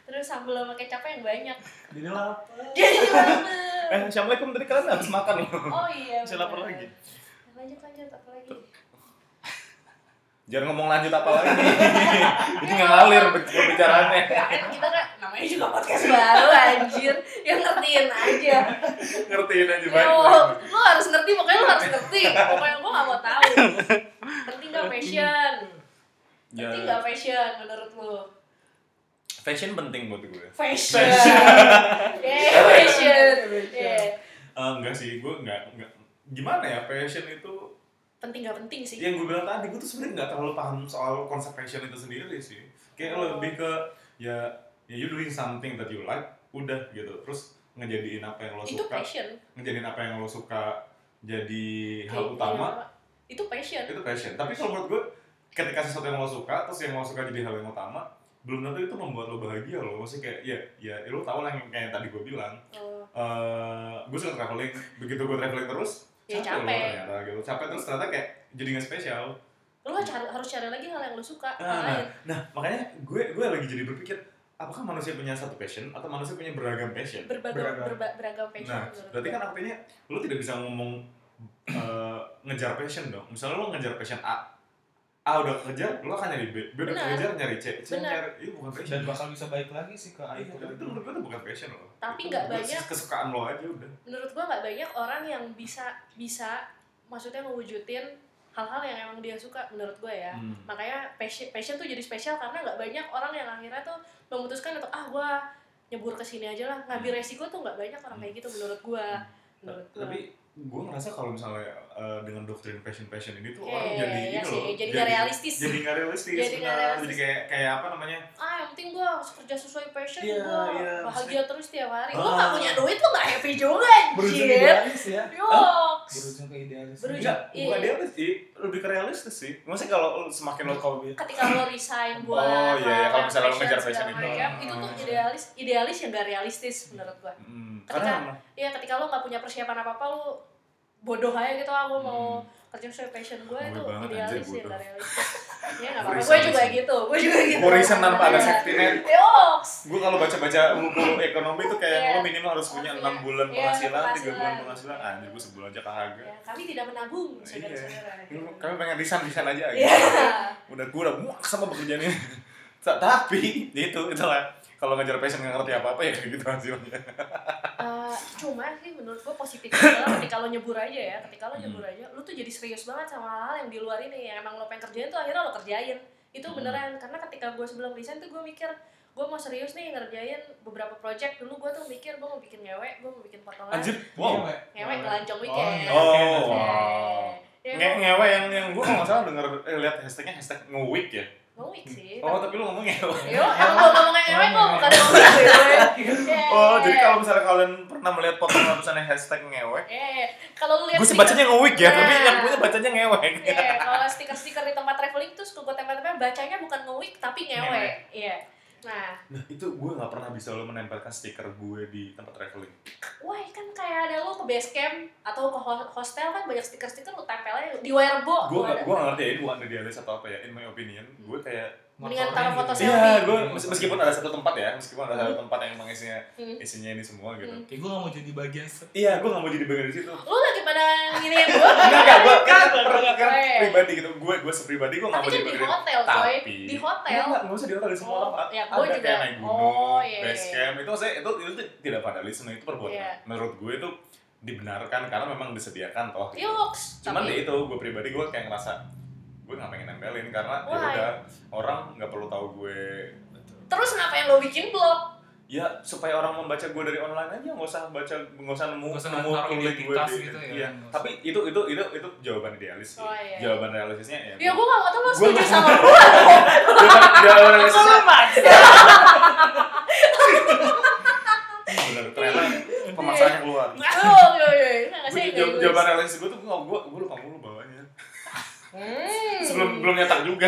Terus sambal sama kecap yang banyak. jadi lapar Jadi eh banget. assalamualaikum tadi kalian habis makan loh Oh iya. Masih lapar bener. lagi. Lanjut lanjut apa lagi? jangan ngomong lanjut apa lagi ini nggak ngalir ber- perbicaraannya Ya kan kita kan namanya juga podcast baru anjir. Yang ngertiin aja. ngertiin aja Yo, Iya, baik lu harus ngerti pokoknya lu harus ngerti. Pokoknya gua gak mau tahu. Ngerti gak fashion? Ngerti Ya, gak fashion menurut lu? fashion penting buat gue. Fashion. Iya, Yeah, fashion. Yeah. Eh, enggak sih, gue enggak, enggak. Gimana ya fashion itu? Penting gak penting sih. Yang gue bilang tadi, gue tuh sebenarnya nggak terlalu paham soal konsep fashion itu sendiri sih. Kayak Oh. lebih ke ya, ya you doing something that you like, udah gitu. Terus ngejadiin apa yang lo Itu suka, fashion. ngejadiin apa yang lo suka jadi Kayak gitu. hal utama gimana? itu passion itu fashion. Tapi kalau menurut gue, ketika sesuatu yang lo suka, terus yang lo suka jadi hal yang utama, belum tentu itu membuat lo bahagia lo. Maksudnya kayak ya, ya, ya lo tau lah yang kayak yang tadi gue bilang. Oh, eh gue suka traveling begitu gue traveling terus ya loh capek ternyata gitu capek terus ternyata kayak jadi nggak spesial lo cari, harus cari lagi hal yang lo suka hal nah, nah, lain nah, makanya gue gue lagi jadi berpikir apakah manusia punya satu passion atau manusia punya beragam passion berbagai beragam. berba- beragam passion nah menurut berarti gue. kan artinya lo tidak bisa ngomong eh, ngejar passion dong misalnya lo ngejar passion A A udah kekejar, lo akan nyari B. B udah Benar. kekejar, nyari C. C Benar. nyari, itu bukan passion. dan bakal bisa balik lagi sih ke air Iya, tapi itu menurut gue itu bukan passion lo. Tapi Itu nggak buat banyak. Kesukaan lo aja udah. menurut gua nggak banyak orang yang bisa bisa maksudnya mewujudin hal-hal yang emang dia suka menurut gua ya Hmm. makanya passion passion tuh jadi spesial karena nggak banyak orang yang akhirnya tuh memutuskan untuk ah gua nyebur ke sini aja lah Hmm. ngambil resiko tuh nggak banyak orang kayak gitu menurut gua menurut gua tapi gue ngerasa kalau misalnya eh, dengan doktrin fashion fashion ini tuh Iya, orang iya, jadi iya ini sih, loh jadi nggak realistis. jadi nggak realistis Jadi nggak benar. realistis. jadi kayak kayak apa namanya ah yang penting gua harus kerja sesuai passion Iya, gua iya, bahagia terus tiap hari Lu Ah. nggak punya duit lu nggak happy juga berujung anjir idealis ya Yoks. berujung ke idealis Berujung- enggak iya, bukan iya. dia sih lebih ke realistis sih maksudnya kalau lu- semakin lo kau Ketika lo resign buat Oh, iya, iya. Kalau hal-hal misalnya lo ngejar segala passion itu. macam, itu tuh idealis, idealis yang gak realistis menurut gua. Hmm, Ketika- karena Iya, ketika lo nggak punya persiapan apa apa lo bodoh aja gitu ah gua mau kerja sesuai passion gue Ngeri itu Hmm. banget, idealis anjir, ya bodoh. nggak realistis ya nggak apa-apa Worrisome gue juga sih. gitu gue juga gitu Worrisome Hmm. tanpa ada Iya. safety net. Yoks. gue kalau baca-baca buku ekonomi tuh kayak Iya. lo minimal harus punya Harus enam punya. bulan Iya, penghasilan, tiga penghasilan. bulan penghasilan, anjir gue sebulan aja kagak. ya, kami tidak menabung saudara-saudara Iya. Kami pengen desain desain aja gitu. Iya. Udah gue udah muak sama pekerjaan ini. Ta- Tapi ya itu itulah kalau ngejar passion nggak ngerti apa apa ya kayak gitu hasilnya. Eh, cuma sih menurut gue positifnya adalah ketika lo nyebur aja ya ketika Hmm. lo nyebur aja lo tuh jadi serius banget sama hal-hal yang di luar ini yang emang lo pengen kerjain tuh akhirnya lo kerjain itu Hmm. beneran karena ketika gue sebelum resign tuh gue mikir gue mau serius nih ngerjain beberapa project dulu gue tuh mikir gue mau bikin ngewek gue mau bikin potongan Anjir, wow. Ngewe. ngewek ngelanjong Oh, weekend ngewe. Iya, Oh, Oke. wow. Ya, Nge ngewe yang yang gue nggak salah denger eh, lihat hashtagnya hashtag ngewik ya. ngewek sih Oh tapi lu ngomong ngewe. Yo, emang gue ngomong ngewek gue bukan ngomong ngewek Iya, Oh jadi kalau misalnya kalian pernah melihat potongan tulisannya hashtag ngewek, Eh, kalau lu lihat gue sih bacanya ngewik ya, tapi Nah. yang punya bacanya ngewek. Iya, kalau stiker-stiker di tempat traveling terus gue tempel-tempel bacanya bukan ngewik tapi ngewe. Ngewek. Iya. Nah, Nah itu gue nggak pernah bisa lo menempelkan stiker gue di tempat traveling. wah kan kayak ada lo ke base camp atau ke ho- hostel kan banyak stiker-stiker lu tempelnya di wirebo. lu Oh, Gue ada. gak gue ngerti ya ini bukan idealis atau apa ya. In my opinion, gue kayak Mendingan Motornya taruh gitu. foto selfie. iya gue mes- meskipun ada satu tempat ya, meskipun ada satu tempat yang emang isinya Hmm. isinya ini semua gitu. Hmm. Kayak gue gak mau jadi bagian se- Iya gue gak mau jadi bagian dari situ. Lu lagi pada ngiriin gue. Enggak enggak gue kan Kan, kan gue. pribadi gitu. Gue gue sepribadi gue gak Tapi mau kan jadi di bagian. hotel, coy. Tapi Di hotel. Enggak, enggak, enggak usah di hotel di semua Oh, tempat. ya, ada gua kayak juga. naik gunung, Oh, iya, iya, base iya. camp. Itu maksudnya itu itu tuh tidak vandalisme itu perbuatan. Iya. Menurut gue itu dibenarkan karena memang disediakan toh. gitu. Yuks. tapi- cuman ya itu gue pribadi gue kayak ngerasa gue nggak pengen nempelin karena ya Why? udah orang nggak perlu tahu gue Terus ngapain lo bikin blog? ya supaya orang membaca gue dari online aja nggak usah baca nggak usah nemu Nggak usah nemu naruh kulit gue identitas di- gitu ya, iya. nggak usah. tapi itu itu itu itu jawaban idealis sih Oh, iya. jawaban realistisnya ya, Ya gue gak mau tau lo Gua setuju nggak- sama gue. jawaban, jawaban realistisnya benar ternyata pemaksaannya keluar Oh, iya, iya. Nggak Gua- sih, jaw- egois. jawaban realistis gue tuh gue gue gue lupa mulu bawahnya Hmm. sebelum belum nyetak juga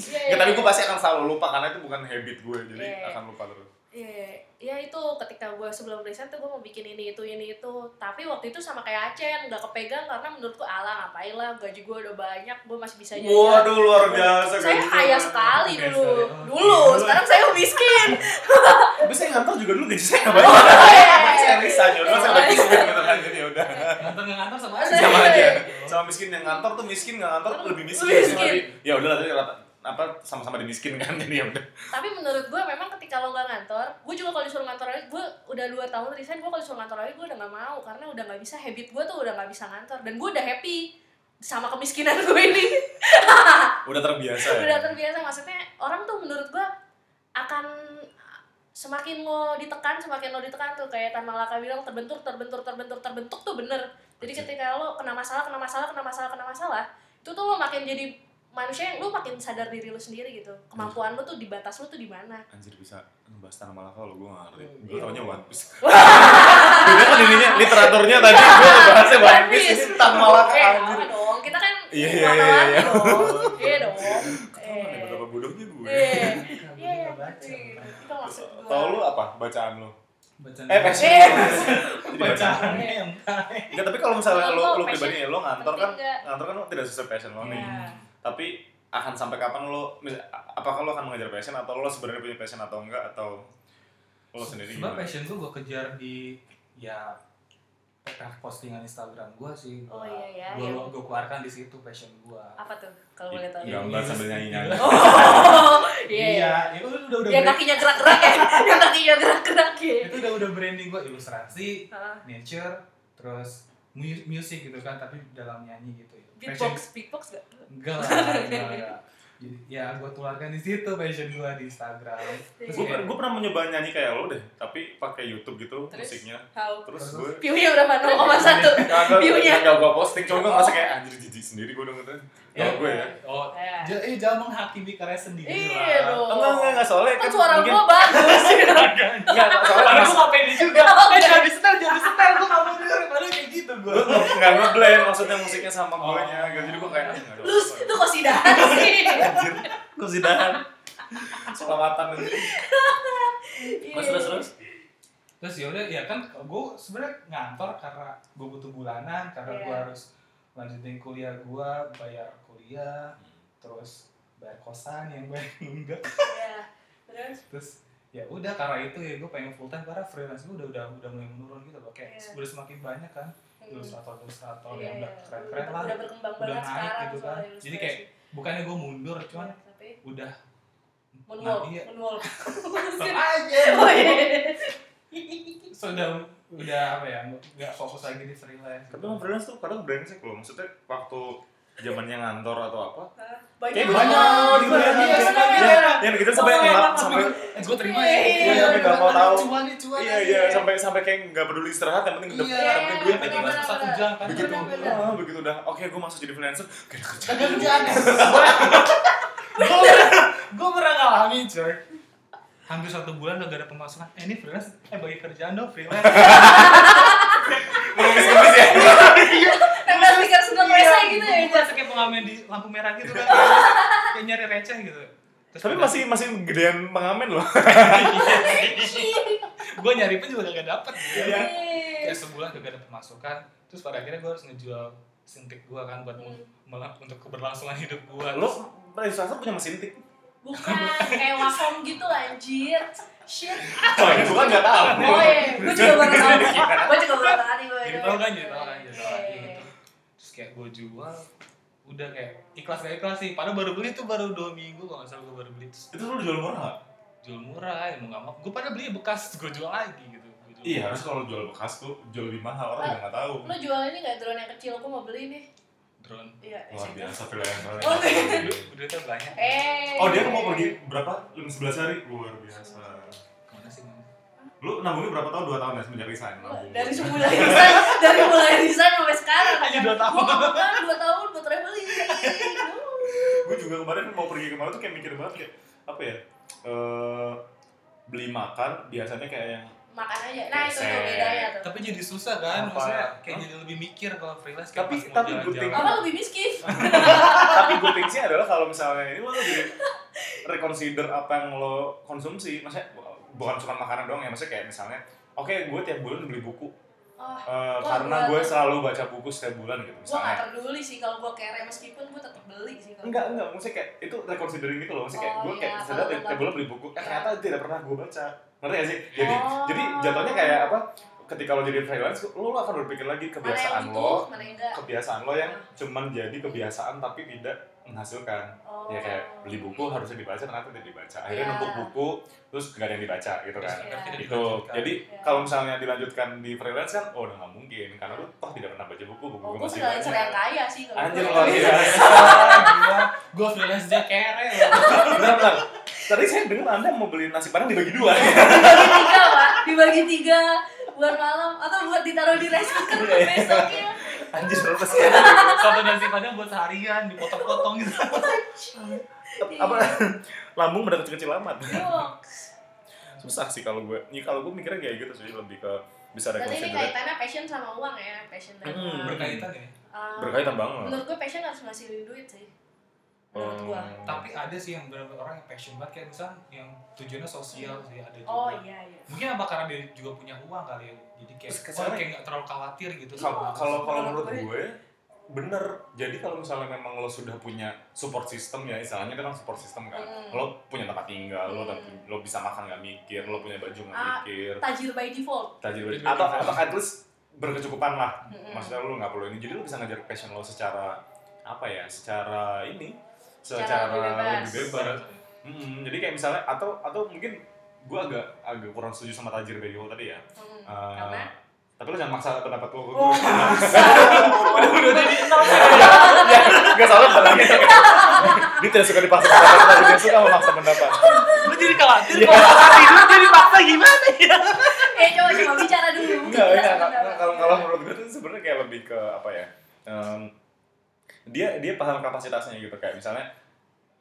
Iya. Nggak, tapi gue pasti akan selalu lupa karena itu bukan habit gue jadi Iya. akan lupa terus Iya, ya itu ketika gue sebelum resign tuh gue mau bikin ini itu ini itu tapi waktu itu sama kayak Acen nggak kepegang karena menurutku ala ngapain lah gaji gue udah banyak gue masih bisa jajan Waduh luar biasa saya gajinya. kaya sekali Biasa, dulu ya. dulu Iya, Dulu. sekarang saya miskin Tapi saya ngantor juga dulu gaji saya nggak Oh, iya. banyak. Tapi saya resign jodoh saya udah miskin gitu kan jadi udah Ngantor nggak ngantor sama aja. sama aja. Oh. Sama miskin yang ngantor tuh miskin nggak ngantor tuh lebih miskin. Miskin. Jadi, ya udah lah tapi rata apa sama-sama dimiskin kan jadi ya udah. tapi menurut gue memang ketika lo nggak ngantor gue juga kalau disuruh ngantor lagi gue udah dua tahun resign gue kalau disuruh ngantor lagi gue udah nggak mau karena udah nggak bisa habit gue tuh udah nggak bisa ngantor dan gue udah happy sama kemiskinan gue ini Udah terbiasa ya. udah terbiasa maksudnya orang tuh menurut gua akan semakin lo ditekan semakin lo ditekan tuh kayak Tan Malaka bilang terbentur terbentur terbentur terbentuk tuh bener jadi ketika lo kena masalah kena masalah kena masalah kena masalah itu tuh lo makin jadi manusia yang lo makin sadar diri lo sendiri gitu kemampuan lo tuh di batas lo tuh di mana Anjir bisa ngebahas tanah malaka lo gue nggak ngerti. Gue Iya. taunya One Piece. Beda kan ininya literaturnya tadi gue ngebahasnya One Piece ini tanah malaka eh, anjir. apa dong kita kan Iya, iya, iya, wartawan iya. dong iya dong Ketahuan ya Eh. betapa bodohnya gue. iya iya Nggak bisa iya baca. anjing. itu maksud gua Tahu lu apa bacaan lu? Bacaan. Eh, passion. Eh. Jadi Bacaan bacaan. yang Iya. kaya. Enggak, tapi kalau misalnya Kalau lo lo lo pribadi ya, lo ngantor kan, penting nggak? ngantor kan lo tidak sesuai passion lo nih. Iya. Tapi akan sampai kapan lo mis- apakah lo akan mengejar passion atau lo sebenarnya punya passion atau enggak atau lo Oh, sendiri Sebenarnya gimana? passion gue gue kejar di ya postingan Instagram gue sih. Oh, iya, iya, Gue iya. gue keluarkan di situ passion gue. apa tuh kalau boleh tahu Gambar sambil nyanyi-nyanyi. Oh, iya. iya. Iya, itu udah udah Yang brand- kakinya gerak-gerak ya. Yang kakinya gerak-gerak ya. itu udah udah branding gue ilustrasi, Heeh. nature, terus mu- music gitu kan, tapi dalam nyanyi gitu. ya. Passion- Beatbox, beatbox gak? enggak lah, enggak, enggak. Jadi, ya gue tularkan di situ passion gue di Instagram. Iya. Terus Gue kayak- gue pernah mencoba nyanyi kayak lo deh, tapi pakai YouTube gitu Terus? musiknya. How? Terus Terus? gue View-nya berapa? 0,1. Iya. Kagak, View-nya. kagak gue posting, cuma gue ngerasa kayak anjir jijik sendiri gue denger Ya, Kalau gue ya Oh, Ya. j- eh, jangan menghakimi karya sendiri lah. Iya dong. Enggak, enggak, enggak, soalnya Kan suara mungkin- Iya, gua bagus. Enggak, soalnya Padahal mas- gue gak pede juga. Oh, Eh, jangan di setel, jangan di setel. Gue gak mau denger. Padahal kayak gitu gue. Gue nggak ngeblend maksudnya musiknya sama Oh. gue nya jadi gue kayak ah, nggak ada Lu apa-apa. itu kosidahan sih. anjir gue sidahan selamatan Iya, anjir. terus terus terus ya Terus yaudah, ya kan gue sebenarnya ngantor karena gue butuh bulanan, karena gue Iya. harus lanjutin kuliah gua bayar kuliah terus bayar kosan yang gue enggak ya terus terus ya udah karena itu ya gue pengen full time karena freelance gue udah udah udah mulai menurun gitu loh kayak Iya. udah semakin banyak kan ilustrator ilustrator hmm. Iya, yang udah iya. keren keren udah lah berkembang udah banget naik sekarang gitu soal kan. ilustrasi. Jadi kayak bukannya gue mundur cuman tapi udah manual iya. manual Tetep aja oh iya so, udah udah apa ya nggak fokus lagi di freelance Tapi emang freelance tuh kadang brengsek loh. Maksudnya waktu zamannya ngantor atau apa. Hah? Kayak banyak Iya, banyak banyak, Iya. banyak, gitu ya. banyak. Ya, Yang kita sampai Sampai ngelap emang sampai eh gue terima Iya, iya, ya Iya, nggak mau bener-bener. tahu. cuan nih cuan iya iya sampai sampai kayak nggak peduli istirahat yang penting dapet Iya, dapet duit aja. bener-bener. Mas. satu jam kan. Begitu Bener-bener. ah, begitu udah oke gue masuk jadi freelancer. Gak ada kerja. Kagak kerjaan Gue gue pernah ngalamin coy. Hampir satu bulan udah gak ada pemasukan. Eh ini freelance, eh bagi kerjaan dong freelance. Ngemis-ngemis ya. Tempel stiker seneng rese gitu ya Gue kayak pengamen di lampu merah gitu kan. Kayak nyari receh gitu. Terus Tapi masih masih gedean pengamen loh. gue nyari pun juga gak dapet. gitu kan. Iya. Kayak sebulan gak ada pemasukan. Terus pada akhirnya gue harus ngejual sintik gue kan buat Hmm. melap untuk keberlangsungan hidup gue. Lo ilustrator punya mesin tik. bukan kayak wasom gitu anjir shit Oh, itu kan nggak tahu. oh iya gue juga baru tahu gue juga baru tahu nih ya. Iya, gue Jadi tau kan, jadi tau kan, jadi tau kan, gitu. terus kayak gue jual udah kayak ikhlas gak ikhlas sih padahal baru beli tuh baru dua minggu kalau nggak salah gue baru beli terus Itu lo jual murah nggak? jual murah ya mau nggak mau gue pada beli bekas gue jual lagi gitu Gua jual. Iya, harus kalau jual bekas tuh jual lebih mahal orang yang nggak tahu. lo jual ini nggak drone yang kecil gue mau beli nih drone iya Luar biasa freelancer. Oh, udah tuh banyak eh Oh, dia mau pergi berapa? 11 hari? Luar biasa. kemana sih Mam? Lu nabungnya berapa tahun? 2 tahun ya semenjak resign nabung. dari mulai desain dari mulai desain sampai sekarang Hanya Iya, dua tahun. Gua mau makan dua tahun buat traveling gue juga kemarin mau pergi kemana tuh kayak mikir banget kayak apa ya? Eh beli makan biasanya kayak yang makan aja nah itu tuh Set. bedanya tuh tapi jadi susah kan Apa? maksudnya kayak Hah? jadi lebih mikir kalau freelance kayak Tapi- pas mau tapi good jalan-jalan. thing. apa lebih miskin tapi good things-nya adalah kalau misalnya ini lo jadi reconsider apa yang lo konsumsi maksudnya bu- bukan cuma makanan doang ya maksudnya kayak misalnya oke gue tiap bulan beli buku oh, eh, Wah, karena gua- gue selalu baca buku setiap bulan gitu gue nggak misalnya peduli sih kalau gue kere meskipun gue tetap beli sih kalau enggak enggak maksudnya kayak itu reconsidering gitu loh maksudnya kayak Oh, gue kayak iya, sadar kalau tiap tiap nggak- bulan beli buku eh Iya. ternyata tidak pernah gue baca ngerti gak sih jadi Oh. jadi jatuhnya kayak apa ketika lo jadi freelance lo, lo akan berpikir mana lagi yang kebiasaan butuh lo mana yang enggak kebiasaan lo yang cuman jadi kebiasaan tapi tidak menghasilkan oh. ya kayak beli buku harusnya dibaca ternyata tidak dibaca akhirnya Iya. numpuk buku terus gak ada yang dibaca gitu Terus kan Iya. akhirnya itu dilanjutkan. jadi Iya. kalau misalnya dilanjutkan di freelance kan oh udah nggak mungkin karena lu toh tidak pernah baca buku buku Oh, gua gue masih freelancer yang banyak kaya sih kalau anjir gua. luar biasa Gua- gua Iya. freelance aja kere loh. benar benar tadi saya dengar anda mau beli nasi padang dibagi dua Dibagi tiga, Pak. Dibagi tiga buat malam atau buat ditaruh di rice cooker Iya, iya. besoknya. anjir ya. lu pasti satu nasi padang buat seharian dipotong-potong gitu Hmm. apa lambung pada kecil kecil amat Jokes. susah sih kalau gue ini kalau gue mikirnya kayak gitu sih lebih ke bisa Berarti ini reconsider kaitannya passion sama uang ya, passion dan Hmm, uang. berkait- berkaitan ya Um, berkaitan banget Menurut gue passion harus ngasilin duit sih. Menurut Hmm. gue. tapi ada sih yang benar orang yang passion banget kayak misalnya yang tujuannya sosial sih ada juga Oh iya iya. mungkin apa karena dia juga punya uang kali ya jadi kayak Terus oh, kesana- ya? kayak nggak terlalu khawatir gitu kalau kalau kalau menurut ya. Menurut gue bener jadi kalau misalnya memang lo sudah punya support system ya istilahnya itu kan support system kan Hmm. lo punya tempat tinggal lo Hmm. tapi- lo bisa makan nggak mikir lo punya baju nggak Ah. mikir Tajir by default. tajir Tajir atau baju. atau at least berkecukupan lah Mm-mm. maksudnya lo nggak perlu ini jadi lo bisa ngejar passion lo secara apa ya secara ini Secara secara lebih bebas. lebih bebas Mm-mm, jadi kayak misalnya atau atau mungkin gue agak agak kurang setuju sama tajir video tadi ya Hmm, Eh, Karena tapi lo jangan maksa pendapat Iya, lo gue Oh, udah udah jadi ya nggak salah benarnya dia tidak suka dipaksa pendapat tapi dia suka memaksa pendapat Iya. lu jadi khawatir kalau tidur jadi paksa gimana ya eh coba coba bicara dulu. enggak Bicara enggak sebentar. enggak. kalau kalau menurut gue tuh sebenarnya kayak lebih ke apa ya em, dia dia paham kapasitasnya gitu kayak misalnya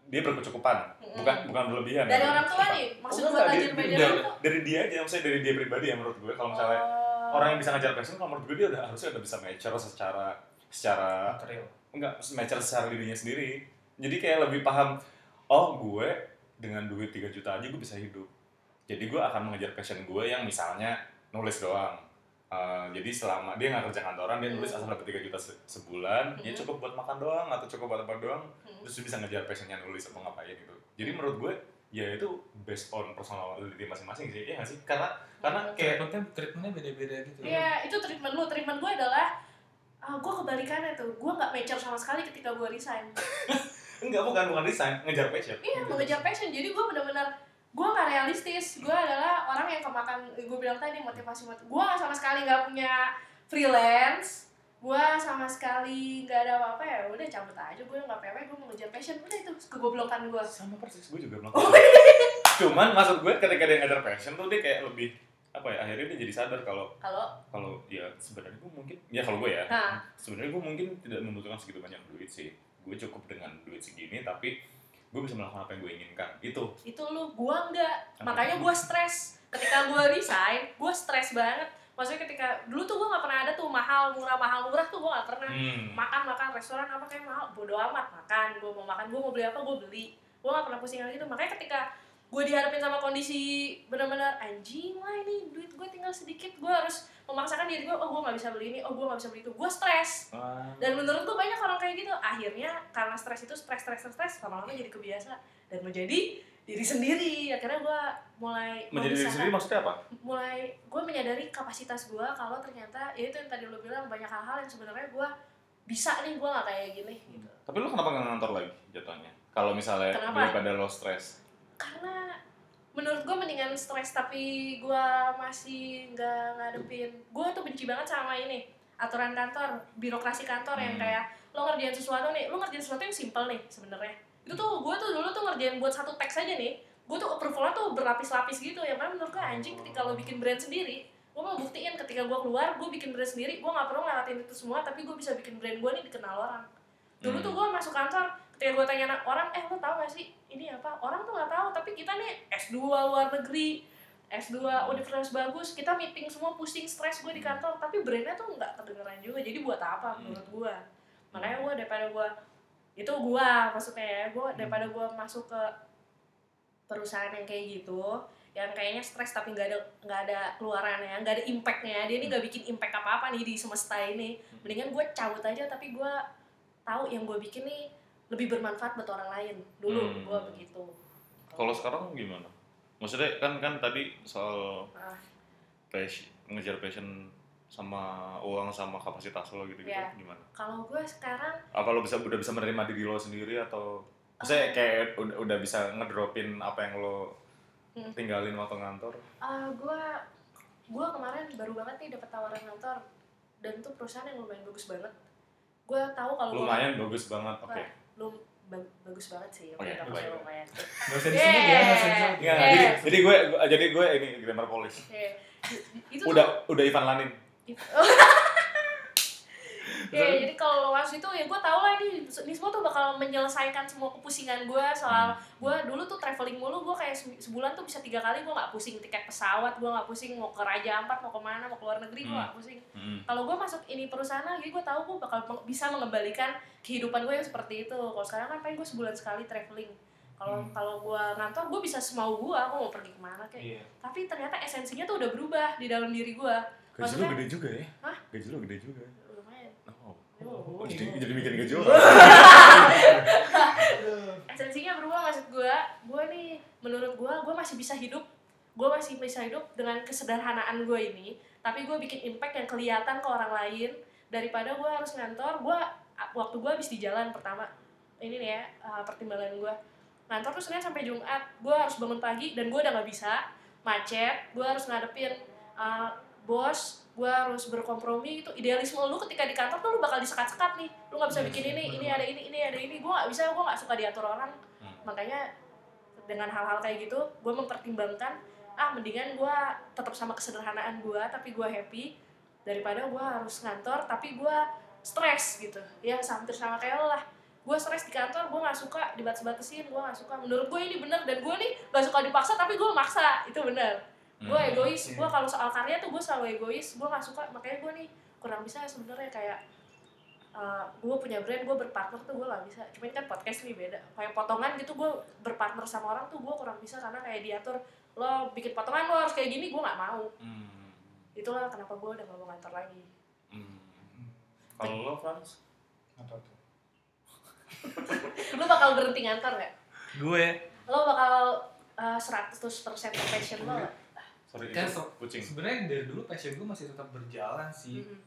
dia berkecukupan bukan bukan berlebihan dari ya. orang tua nih, maksud Enggak, gue enggak, tajir by dia- default. dia- tuh- dari dia aja maksudnya dari dia pribadi ya menurut gue kalau misalnya Oh. orang yang bisa ngajar passion kalau menurut gue dia udah harusnya udah bisa mature secara secara material nggak matcher secara dirinya sendiri jadi kayak lebih paham oh gue dengan duit 3 juta aja gue bisa hidup jadi gue akan mengejar passion gue yang misalnya nulis doang eh, jadi selama dia nggak kerja kantoran dia nulis asal dapat 3 juta se- sebulan dia Mhm. cukup buat makan doang atau cukup buat apa doang Hmm. terus dia bisa ngejar passionnya nulis apa ngapain gitu jadi menurut gue ya itu based on personality masing-masing sih ya nggak sih karena karena kayak treatmentnya treatmentnya beda-beda gitu Iya, itu treatment lu. Treatment gue adalah ah gue kebalikannya tuh. Gue nggak mature sama sekali ketika gue resign. enggak bukan bukan desain ngejar passion Iya, mengejar passion. Jadi gue benar-benar gue nggak realistis. Gue adalah orang yang kemakan. Gue bilang tadi motivasi motivasi. Gue nggak sama sekali nggak punya freelance. Gue sama sekali nggak ada apa-apa ya. Udah cabut aja. Gue nggak PW. Gue mengejar passion. Udah itu kegoblokan gue. sama persis gue juga melakukan Oh, iya. cuman maksud gue ketika dia ngejar passion tuh dia kayak lebih apa ya akhirnya dia jadi sadar kalau Kalau kalau ya sebenarnya gue mungkin ya kalau gue ya Hah. sebenarnya gue mungkin tidak membutuhkan segitu banyak duit sih gue cukup dengan duit segini tapi gue bisa melakukan apa yang gue inginkan Gitu. itu itu lu, gue nggak. Apa? Makanya gue stres. Ketika gue resign, gue stres banget. Maksudnya ketika dulu tuh gue nggak pernah ada tuh mahal murah mahal murah tuh gue nggak pernah. hmm. makan makan restoran apa kayak mahal bodo amat makan gue mau makan gue mau beli apa gue beli gue gak pernah pusing gitu makanya ketika gue dihadapin sama kondisi benar-benar anjing lah ini duit gue tinggal sedikit gue harus memaksakan diri gue oh gue nggak bisa beli ini oh gue nggak bisa beli itu gue stres Ah. dan menurut gue banyak orang kayak gitu akhirnya karena stres itu stres stres stres, stres lama-lama jadi kebiasaan dan menjadi diri sendiri akhirnya gue mulai menjadi diri memisahkan- sendiri maksudnya apa mulai gue menyadari kapasitas gue kalau ternyata ya itu yang tadi lo bilang banyak hal-hal yang sebenarnya gue bisa nih gue gak kayak gini gitu tapi lu kenapa nggak ngantor lagi jatuhnya kalau misalnya Kenapa? daripada lo stres karena menurut gue mendingan stres tapi gue masih nggak ngadepin gue tuh benci banget sama ini aturan kantor birokrasi kantor yang Hmm. kayak lo ngerjain sesuatu nih lo ngerjain sesuatu yang simple nih sebenarnya itu tuh gue tuh dulu tuh ngerjain buat satu teks aja nih gue tuh approvalnya tuh berlapis-lapis gitu yang mana menurut gue anjing ketika lo bikin brand sendiri gue mau buktiin ketika gue keluar gue bikin brand sendiri gue nggak perlu ngelatin itu semua tapi gue bisa bikin brand gue nih dikenal orang dulu Hmm. tuh gue masuk kantor ketika gue tanya anak orang eh lo tau gak sih ini apa orang tuh nggak tahu tapi kita nih S 2 luar negeri S2 universitas bagus kita meeting semua pusing stres gue di kantor tapi brandnya tuh nggak kedengeran juga jadi buat apa Hmm. menurut gue makanya gue daripada gue itu gue maksudnya ya gue Hmm. daripada gue masuk ke perusahaan yang kayak gitu yang kayaknya stres tapi nggak ada nggak ada keluarannya nggak ada impactnya dia ini Hmm. nggak bikin impact apa apa nih di semesta ini mendingan gue cabut aja tapi gue tahu yang gue bikin nih lebih bermanfaat buat orang lain dulu Hmm. gue begitu kalau sekarang gimana maksudnya kan kan tadi soal Ah. passion ngejar passion sama uang sama kapasitas lo gitu gitu Iya. gimana kalau gue sekarang apa lo bisa udah bisa menerima diri lo sendiri atau saya kayak udah, udah bisa ngedropin apa yang lo Hmm. tinggalin waktu ngantor eh, gue gue kemarin baru banget nih dapat tawaran kantor dan itu perusahaan yang lumayan bagus banget gue tahu kalau Nah. gua- lumayan Oh, bagus banget oke Wah, lum ba- bagus banget sih Oke, nggak baik. usah lumayan nggak usah Iya, disebut ya nggak usah disebut Nggak, nggak, Eh. Iya, jadi jadi gue jadi gue ini grammar polish Oke. itu tuh- udah udah Ivan Lanin Ya, jadi kalau luas itu ya gue tau lah ini, ini semua tuh bakal menyelesaikan semua kepusingan gue soal gue dulu tuh traveling mulu gue kayak se- sebulan tuh bisa tiga kali gue nggak pusing tiket pesawat gue nggak pusing mau ke Raja Ampat mau kemana mau ke luar negeri gue Hmm. nggak pusing Hmm. kalau gue masuk ini perusahaan lagi gue tahu gue bakal meng- bisa mengembalikan kehidupan gue yang seperti itu kalau sekarang kan paling gue sebulan sekali traveling kalau Hmm. kalau gue ngantor gue bisa semau gue gue mau pergi kemana kayak iya tapi ternyata esensinya tuh udah berubah di dalam diri gue gaji lo Maksudnya- gede juga ya Hah? gaji lo gede juga lumayan oh, Oh, jadi, iya. jadi bikin gaji orang esensinya berubah maksud gue gue nih menurut gue gue masih bisa hidup gue masih bisa hidup dengan kesederhanaan gue ini tapi gue bikin impact yang kelihatan ke orang lain daripada gue harus ngantor gue waktu gue habis di jalan pertama ini nih ya uh, pertimbangan gue ngantor tuh sebenarnya sampai Jumat gue harus bangun pagi dan gue udah nggak bisa macet gue harus ngadepin uh, bos gue harus berkompromi itu idealisme lu ketika di kantor tuh lu bakal disekat-sekat nih lu nggak bisa bikin ini ini ada ini ini ada ini gue nggak bisa gue nggak suka diatur orang Hmm. makanya dengan hal-hal kayak gitu gue mempertimbangkan ah mendingan gue tetap sama kesederhanaan gue tapi gue happy daripada gue harus ngantor tapi gue stres gitu ya hampir sama kayak lo lah gue stres di kantor gue nggak suka dibatas-batasin gue nggak suka menurut gue ini bener dan gue nih gak suka dipaksa tapi gue maksa itu bener gue Hmm. egois iya. gue kalau soal karya tuh gue selalu egois gue nggak suka makanya gue nih kurang bisa sebenarnya kayak eh gue punya brand gue berpartner tuh gue nggak bisa cuman kan podcast nih beda kayak potongan gitu gue berpartner sama orang tuh gue kurang bisa karena kayak diatur lo bikin potongan lo harus kayak gini gue nggak mau Hmm. itulah kenapa gue udah gak mau kantor lagi Hmm. Kalau lo Frans? Apa tuh? lo bakal berhenti ngantor gak? Gue lo bakal eh, 100% ke passion Iya. lo gak? Sorry, Kan, itu so- kucing. sebenarnya dari dulu passion gue masih tetap berjalan Iya. sih. Mm-mm.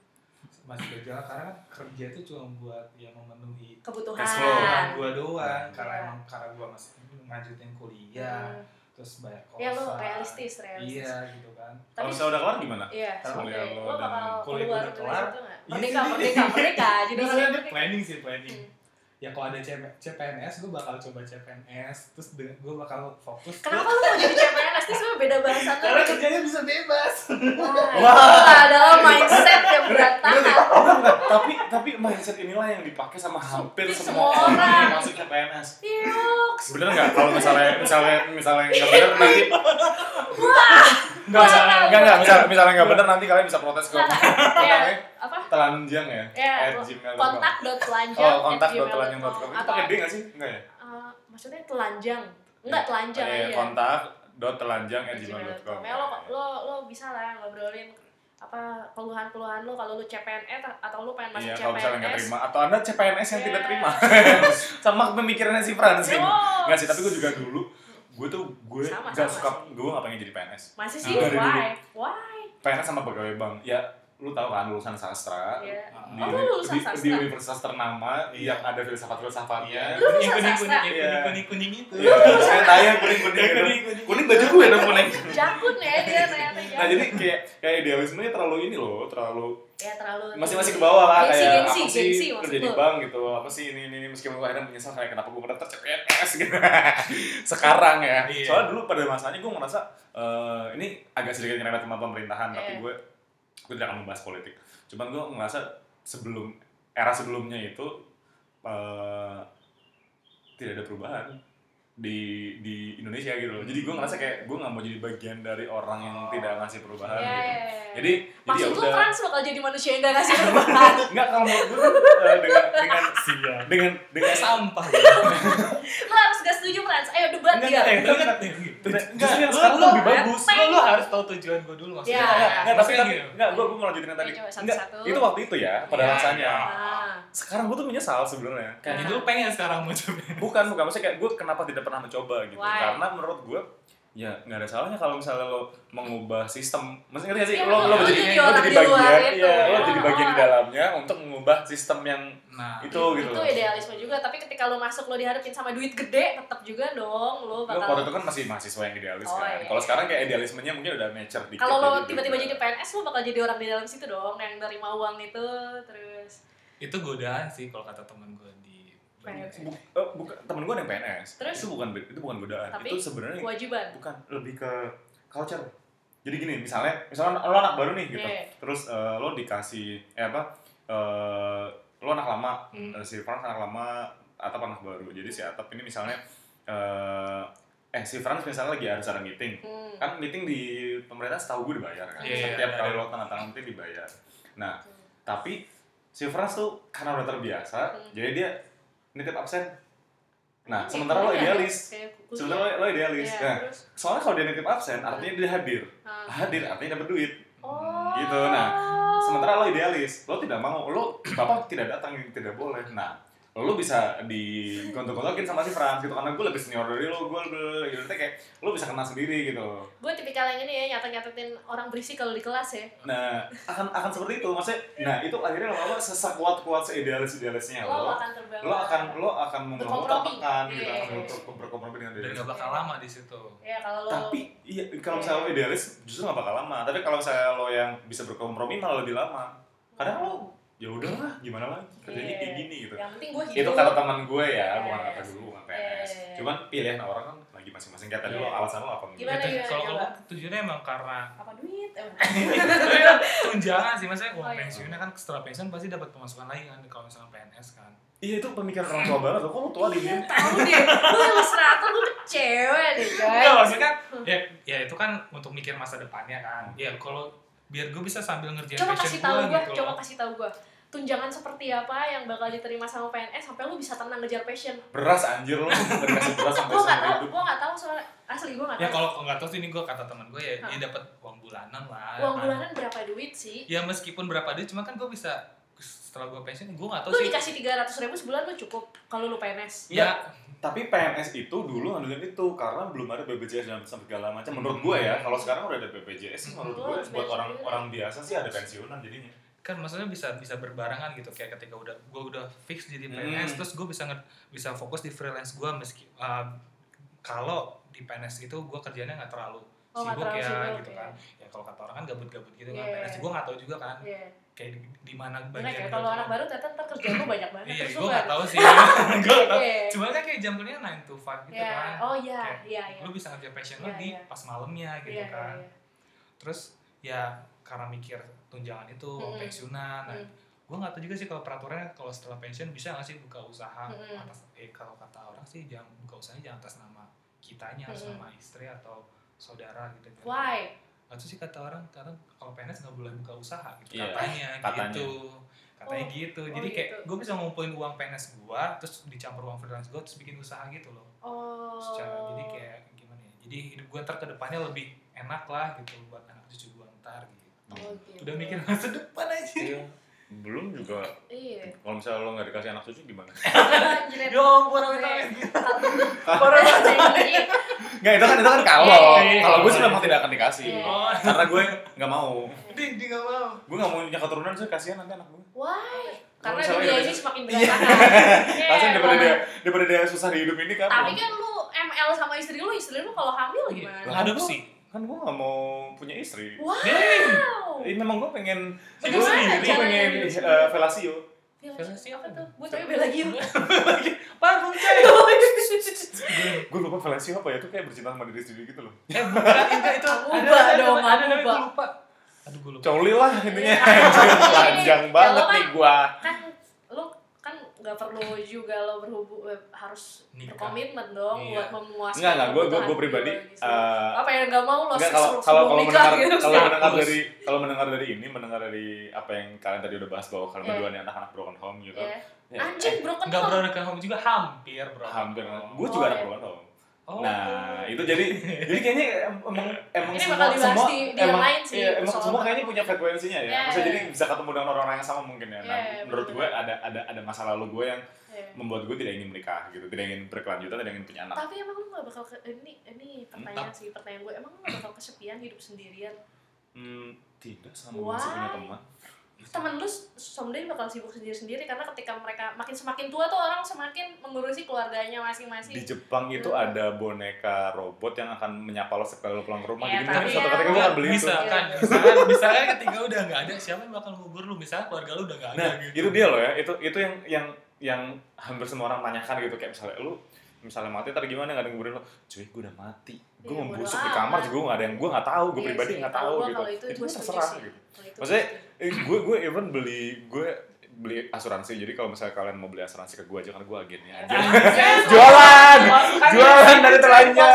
Masih berjalan karena kan kerja itu cuma buat ya memenuhi Ah. Cash flow. kebutuhan kebutuhan gue doang. Iya. Karena emang karena gue masih lanjutin kuliah, Hmm. terus banyak kosan. ya lo realistis realistis Ya, Iya gitu kan. Kalau tapi misalnya udah kelar gimana? iya Kalau oke. ya lo lo dan bakal kuliah keluar udah dari kelar, situ gak? iya merdeka sih. merdeka merdeka jadi Iya Terus orang ada merdeka. Nah, planning sih planning. Hmm. Ya kalau ada CM CPNS gue bakal coba CPNS, terus gue bakal fokus ke- Kenapa lu mau jadi CPNS? Itu sebenernya beda bahasan lu. kan- karena kerjanya bisa bebas. Wah, itu adalah mindset yang berantakan. tapi tapi mindset inilah yang dipakai sama hampir Di semua semua Iya, orang yang orang. masuk ke PNS. Yuks. Bener nggak? Kalau misalnya misalnya misalnya nggak bener nanti nggak misalnya nggak nggak misalnya misalnya nggak bener nanti kalian bisa protes ke Nah, ya, namanya apa? telanjang ya. Ya, At gmail.com. kontak dot Oh kontak dot telanjang dot com. Itu atau pakai d nggak sih? Nggak ya? eh, maksudnya telanjang enggak telanjang iya. Eh, aja Kontak dot telanjang at gmail.com. gmail.com ya lo lo lo bisa lah ngobrolin apa keluhan-keluhan lo kalau lo CPNS atau lo pengen masuk Iya, kalau CPNS misalnya nggak terima atau anda CPNS yang Iya. tidak terima sama pemikirannya si Fransin. Yo. Nggak sih, tapi gue juga dulu gue tuh gue Sama, nggak sama suka sih. gue nggak pengen jadi PNS. masih sih Nah, Dari dulu. why why PNS sama pegawai bank. Ya lu tahu kan lulusan sastra. ya Ah. Nah, Di, Oh, lu lulusan di, sastra? di universitas ternama yang ada filsafat-filsafatnya. Lu kuning bisa kuning kuning sastra. kuning Iya. kuning kuning itu. Iya, saya tanya kuning-kuning. gitu. Kuning baju gue dong kuning. jakun ya dia ternyata jakun Nah, jadi kayak kayak idealismenya terlalu ini loh, terlalu ya terlalu masih-masih ke bawah lah Gengsi, kayak gengsi, apa sih gengsi maksud kerja di lu. bank gitu apa sih ini ini, ini meskipun gue akhirnya menyesal kayak kenapa gue mendaftar CPNS gitu sekarang ya Iya. soalnya dulu pada masanya gue merasa eh, ini agak sedikit nyerempet sama pemerintahan Iya. tapi gue gue tidak akan membahas politik cuman gue merasa sebelum era sebelumnya itu eh, tidak ada perubahan di di Indonesia gitu loh jadi gue ngerasa kayak gue nggak mau jadi bagian dari orang yang Oh. tidak ngasih perubahan Ya, gitu ya, ya. jadi jadi ya maksud kan lu udah trans bakal jadi manusia yang gak ngasih perubahan Enggak kalau menurut gue eh, dengan dengan Siap. dengan dengan Kayak sampah. lu harus gak setuju trans ayo debat Enggak, dia eh, Enggak, enggak, enggak. Justru Justru yang yang sekarang lu lebih bagus. Lu, lu harus tahu tujuan gue dulu maksudnya. Ya. enggak tapi Iya, Maksudnya tapi gini. enggak gue gue ngelanjutin yang tadi. Ayo, coba Enggak, satu-satu. itu waktu itu ya pada Ya, masanya. ya. Ah. Sekarang gue tuh menyesal sebenarnya. Kayak Kayak gitu lu pengen sekarang mau coba. bukan bukan maksudnya kayak gue kenapa tidak pernah mencoba gitu. Why? Karena menurut gue ya nggak ada salahnya kalau misalnya lo mengubah sistem maksudnya ngerti gak sih Iya, lo lo, lo jadi, jadi lo orang jadi di luar bagian itu. iya, lo jadi Oh, bagian oh. di dalamnya untuk mengubah sistem yang Nah, itu gitu itu loh. idealisme juga tapi ketika lo masuk lo dihadapin sama duit gede tetap juga dong lo Lo waktu bakal itu kan masih mahasiswa yang idealis Oh, kan iya. kalau sekarang kayak idealismenya mungkin udah mature dikit kalau lo gitu. tiba-tiba jadi PNS lo bakal jadi orang di dalam situ dong yang nerima uang itu terus itu godaan sih kalau kata temen gue di Pengen. Bu- eh, bukan temen gue ada yang PNS Terus? itu bukan itu bukan godaan Tapi? itu sebenarnya kewajiban bukan lebih ke culture jadi gini misalnya misalnya lo anak baru nih gitu Iya. terus eh, lo dikasih eh apa eh, lo anak lama Hmm. Eh, si Frans anak lama Atap anak baru jadi si Atap ini misalnya eh, eh si Frans misalnya lagi ada sarang meeting Hmm. kan meeting di pemerintah setahu gue dibayar kan Iya, iya, setiap iya. kali lo tanda tangan meeting dibayar nah tapi si Frans tuh karena udah terbiasa Hmm. jadi dia nitip absen nah Iya, sementara lo iya. idealis Kayak kuliah. sementara lo, lo idealis Iya, nah terus, soalnya kalau dia nitip absen artinya dia hadir ah. hadir artinya dapat duit oh. gitu, nah, sementara lo idealis lo tidak mau lo bapak tidak datang tidak boleh nah lo bisa digontok-gontokin sama si Frans gitu karena gue lebih senior dari lo gue lebih gitu Maksudnya kayak lo bisa kena sendiri gitu gue tipikal yang ini ya nyatet-nyatetin orang berisik kalau di kelas ya nah akan akan seperti itu maksudnya nah itu akhirnya lama-lama sesekuat kuat seidealis idealisnya lo Ya, lo akan terbawa lo akan lo akan mengelola Berkompromi. tertekan gitu Iya. akan ber- berkompromi dengan dan diri gak sendiri. bakal lama di situ. ya kalau lo tapi iya kalau misalnya lo idealis justru nggak bakal lama tapi kalau misalnya lo yang bisa berkompromi malah lebih lama kadang lo ya udahlah gimana lagi kerjanya Iya. kayak gini gitu yang penting gue hidup itu kata teman gue ya bukan Yes. kata dulu bukan PNS Yes. cuman pilihan orang kan lagi masing-masing kayak tadi lo Yes. alasan lo apa enggak? Gimana, Gitu. gimana, Kalau kalau coba? gua tujuannya emang karena apa duit eh, tunjangan sih maksudnya uang Oh, iya. pensiunnya kan setelah pensiun pasti dapat pemasukan lagi kan kalau misalnya PNS kan. iya itu pemikiran orang tua banget lo kok lo tua di Iya, tahu deh lu ilustrator lu kan cewek deh Enggak guys maksudnya ya, ya itu kan untuk mikir masa depannya kan. Ya kalau biar gue bisa sambil ngerjain coba passion kasih tahu gua gue gitu coba loh. kasih tahu gue tunjangan seperti apa yang bakal diterima sama PNS sampai lu bisa tenang ngejar passion beras anjir lu nggak dikasih beras sampai gue nggak seumur tahu hidup gue nggak tahu soalnya asli gue nggak ya tahu kalau nggak tahu sih ini gue kata teman gue ya Hah. dia dapat uang bulanan lah uang Nah, bulanan berapa duit sih ya meskipun berapa duit cuma kan gue bisa setelah gue pensiun gue nggak tahu lu sih dikasih tiga ratus ribu sebulan lu cukup kalau lu PNS ya tapi PNS itu dulu ngandelin itu karena belum ada BPJS dan segala macam menurut gue ya kalau sekarang udah ada BPJS sih menurut Lu gue Hmm. harus buat bayar orang sendiri. orang biasa sih ada pensiunan jadinya kan maksudnya bisa bisa berbarengan gitu kayak ketika udah gue udah fix jadi Hmm. PNS terus gue bisa nge- bisa fokus di freelance gue meski uh, kalau di PNS itu gue kerjanya nggak terlalu Oh, nggak sibuk terlalu ya sibuk, gitu iya. kan ya kalau kata orang kan gabut-gabut gitu Iya. kan PNS gue nggak tahu juga kan Iya. kayak di, di mana Bener bagian ya, kalau gitu. anak baru ternyata ntar kerjaan lu banyak banget iya terus gue lu nggak nggak- tahu sih gue nggak tahu Iya. cuma kan kayak jam kerjanya 9 to 5 gitu Iya. kan oh iya Kayak iya iya lu bisa ngerja passion lu Iya, di iya. pas malamnya gitu Iya, iya, kan iya. terus ya karena mikir tunjangan itu uang Mm-mm. pensiunan nah, Mm. gue nggak tahu juga sih kalau peraturannya kalau setelah pensiun bisa nggak sih buka usaha Mm-mm. atas eh kalau kata orang sih jangan buka usahanya jangan atas nama kitanya harus Mm-mm. nama istri atau saudara gitu kan why Nggak tahu sih kata orang karena kalau PNS nggak boleh buka usaha gitu Iya, katanya, katanya. gitu katanya Oh, gitu oh jadi kayak gitu. gue bisa ngumpulin uang PNS gue terus dicampur uang freelance gue terus bikin usaha gitu loh oh secara jadi kayak gimana ya jadi hidup gue ntar kedepannya lebih enak lah gitu buat anak cucu gue ntar gitu Oh, gitu. udah mikir masa depan aja iya belum juga iya kalau misalnya lo nggak dikasih anak cucu gimana Jilat ya ampun amit gue. amit Orang janji. nggak itu kan itu kan kalau Iya, iya, iya. kalau gue sih memang tidak akan dikasih Iya. oh karena gue nggak mau dia dia nggak mau gue nggak mau punya keturunan sih kasihan nanti anak gue Why? Karena misalnya dunia udah- ini semakin berantakan. Iya, kasihan daripada kalau- dia daripada dia susah di hidup ini kan Tapi kan lu ML sama istri lu, istri lu kalau Oh, hamil gimana? Iya. adopsi kan gue nggak mau punya istri Wow. Ding. Oh. Ini memang gue pengen Bagaimana gue sendiri gue caranya? pengen eh, felasio Filasi apa tuh? Gue tapi bela gitu. Iya. parfum coy gue lupa felasio apa ya itu kayak bercinta sama diri sendiri gitu loh eh bukan itu itu Amuba ada ada dong, ada ada amuba. gue lupa aduh gue lupa coli lah intinya Iya. panjang Iya, banget lo nih gue Kan lu kan nggak perlu juga lo berhubung eh, harus Nikah. berkomitmen dong Iya. buat memuaskan enggak enggak gue gue kebutuhan gue pribadi biologis lu. eh, gitu, apa yang nggak mau lo Enggak sih kalau sebelum- kalau kalau sebelum nikah mendengar gitu. kalau mendengar Status. dari kalau mendengar dari ini mendengar dari apa yang kalian tadi udah bahas bahwa kalian Iya. berdua nih anak-anak broken home gitu. Iya. Ya, Anjing broken nggak home. bro ke home juga hampir bro eh, hampir. oh. Gue juga Oh, anak iya. broken home. Nah, itu jadi jadi kayaknya em- emang emang Ini semua bakal dibahas semua di- di yang emang lain sih, iya, emang soal semua broken kayaknya home. punya frekuensinya ya. Iya, Maksudnya iya. jadi bisa ketemu dengan orang-orang yang sama mungkin ya. Nah, Iya, iya, menurut gue bener-bener. ada ada ada masa lalu gue yang Iya. membuat gue tidak ingin menikah gitu, tidak ingin berkelanjutan, tidak ingin punya anak. Tapi emang lu gak bakal ke, ini ini pertanyaan sih pertanyaan gue emang lu gak bakal kesepian hidup sendirian. Hmm, tidak sama masih Why? punya teman. Iya. Temen lu someday bakal sibuk sendiri-sendiri karena ketika mereka makin semakin tua tuh orang semakin mengurusi keluarganya di masing-masing. Jepang itu Hmm. ada boneka robot yang akan menyapa lo setiap lo pulang ke rumah. Ya, Jadi mungkin tapi suatu ya. ketika gue akan beli itu. bisa itu. kan misalkan misalkan ketika udah nggak ada siapa yang bakal ngubur lu misalnya keluarga lu udah nggak ada Nah, gitu itu dia loh ya. Itu itu yang yang yang hampir semua orang tanyakan gitu kayak misalnya lu misalnya mati tadi gimana nggak ada yang nguburin lo cuy gue udah mati gue Iya, membusuk bodo di kamar amat. juga nggak ada yang gue nggak tahu gue Iya pribadi sih, nggak kalau tahu gua gitu kalau itu, gue mah setuju terserah sih. gitu Kalau itu Maksudnya, gue setuju. Eh, gue gue even beli gue beli asuransi jadi kalau misalnya kalian mau beli asuransi ke gue aja kan gue agennya aja Ah. jualan jualan dari telanjang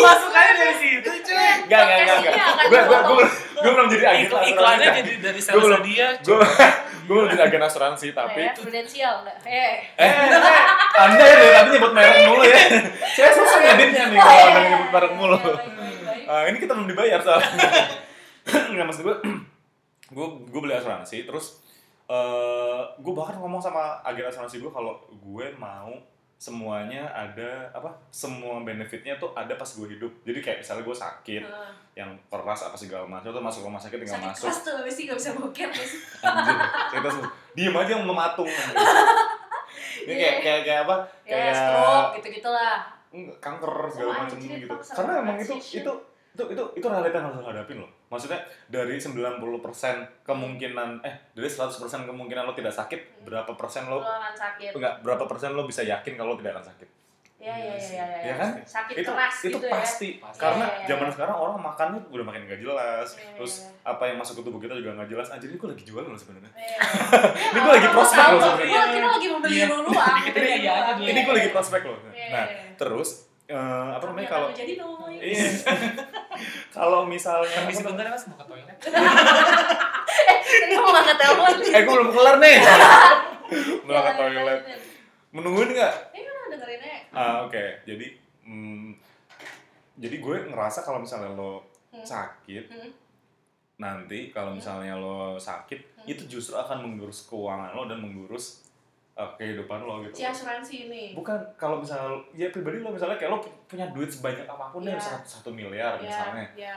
masukannya dari situ cuy Enggak, enggak, enggak, Podcast ini akan Gue gue gue dipotong. gue belum jadi agen Iklan- iklannya asuransi. jadi dari Gua sales belum- dia Gue gue belum jadi agen asuransi tapi Iya, Kayak prudensial enggak? Eh. eh Anda ya dari tadi nyebut merek mulu Iya. ya. Saya susah ngeditnya nih kalau Anda nyebut merek mulu. Iya, baik, baik, baik. Eh, ini kita belum dibayar soalnya. Enggak maksud gue gue gue beli asuransi terus eh gue bahkan ngomong sama agen asuransi gue kalau gue mau semuanya ada apa semua benefitnya tuh ada pas gue hidup jadi kayak misalnya gue sakit Heeh. yang keras apa segala macam tuh masuk rumah sakit tinggal Hmm. Sakit masuk keras tuh abis itu gak bisa boker abis itu. Anjir, cerita sus- diem aja yang mematung ini kayak Iya. kayak kayak apa Ya kayak stroke gitu-gitu lah mm, kanker segala Oh, macam anjir, gitu paksa karena emang itu transition. itu itu itu itu realita yang harus lo hadapin loh maksudnya dari 90% kemungkinan eh dari 100% kemungkinan lo tidak sakit Hmm. berapa persen Lo lo eh, akan sakit enggak berapa persen lo bisa yakin kalau lo tidak akan sakit Ya ya ya ya Iya kan? Sakit itu keras itu gitu ya pasti Pasti. karena Iya, iya, zaman iya. sekarang orang makannya udah makin nggak jelas Iya, iya, terus iya. apa yang masuk ke tubuh kita juga nggak jelas anjir ini gue lagi jualan loh sebenarnya Ini gua lagi prospek loh sebenarnya. iya, Kita lagi membeli Iya. dulu ah. Ini- ini iya aja dulu. ini gue lagi prospek loh Iya. nah terus eh, apa namanya kalau jadi dong. iya kalau misalnya tapi apa ya, sebentar namanya? mas mau ke toilet Ini Eh, mau makan ngetelepon. eh gue belum kelar nih Iya, melangkah toilet lanjutin. menungguin nggak Ini kan dengerin aja. ah oke jadi mm, jadi gue ngerasa kalau misalnya lo Hmm. sakit Hmm. nanti kalau misalnya lo sakit Hmm. itu justru akan mengurus keuangan lo dan mengurus uh, kehidupan lo gitu Si asuransi ini. bukan kalau misalnya lo- ya pribadi lo misalnya kayak lo pu- punya duit sebanyak apapun deh Iya. satu, satu miliar misalnya Iya, iya,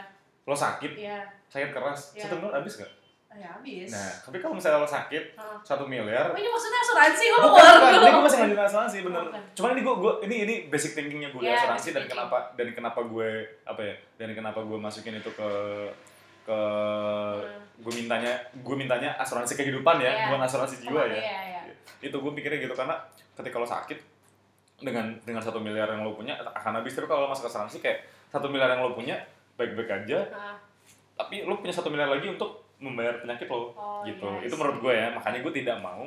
lo sakit iya. sakit keras Iya. satu miliar habis gak Ah, Ya habis. nah tapi kalau misalnya lo sakit Heeh. satu miliar Oh, ini maksudnya asuransi gua mau bukan, keluar bukan. dulu. Ini gue masih lanjut asuransi bener. Bukan. Cuman ini gue, gue ini ini basic thinkingnya gue Iya, asuransi basic dan thinking. kenapa dan kenapa gue apa ya dan kenapa gue masukin itu ke ke gue mintanya gue mintanya asuransi kehidupan ya Hmm. Iya. bukan asuransi jiwa ya Iya, iya. itu gue pikirnya gitu karena ketika lo sakit dengan dengan satu miliar yang lo punya akan habis terus kalau lo masuk asuransi kayak satu miliar yang lo punya baik-baik aja Ah, tapi lo punya satu miliar lagi untuk membayar penyakit lo Oh, gitu iya, sih. itu menurut gue ya makanya gue tidak mau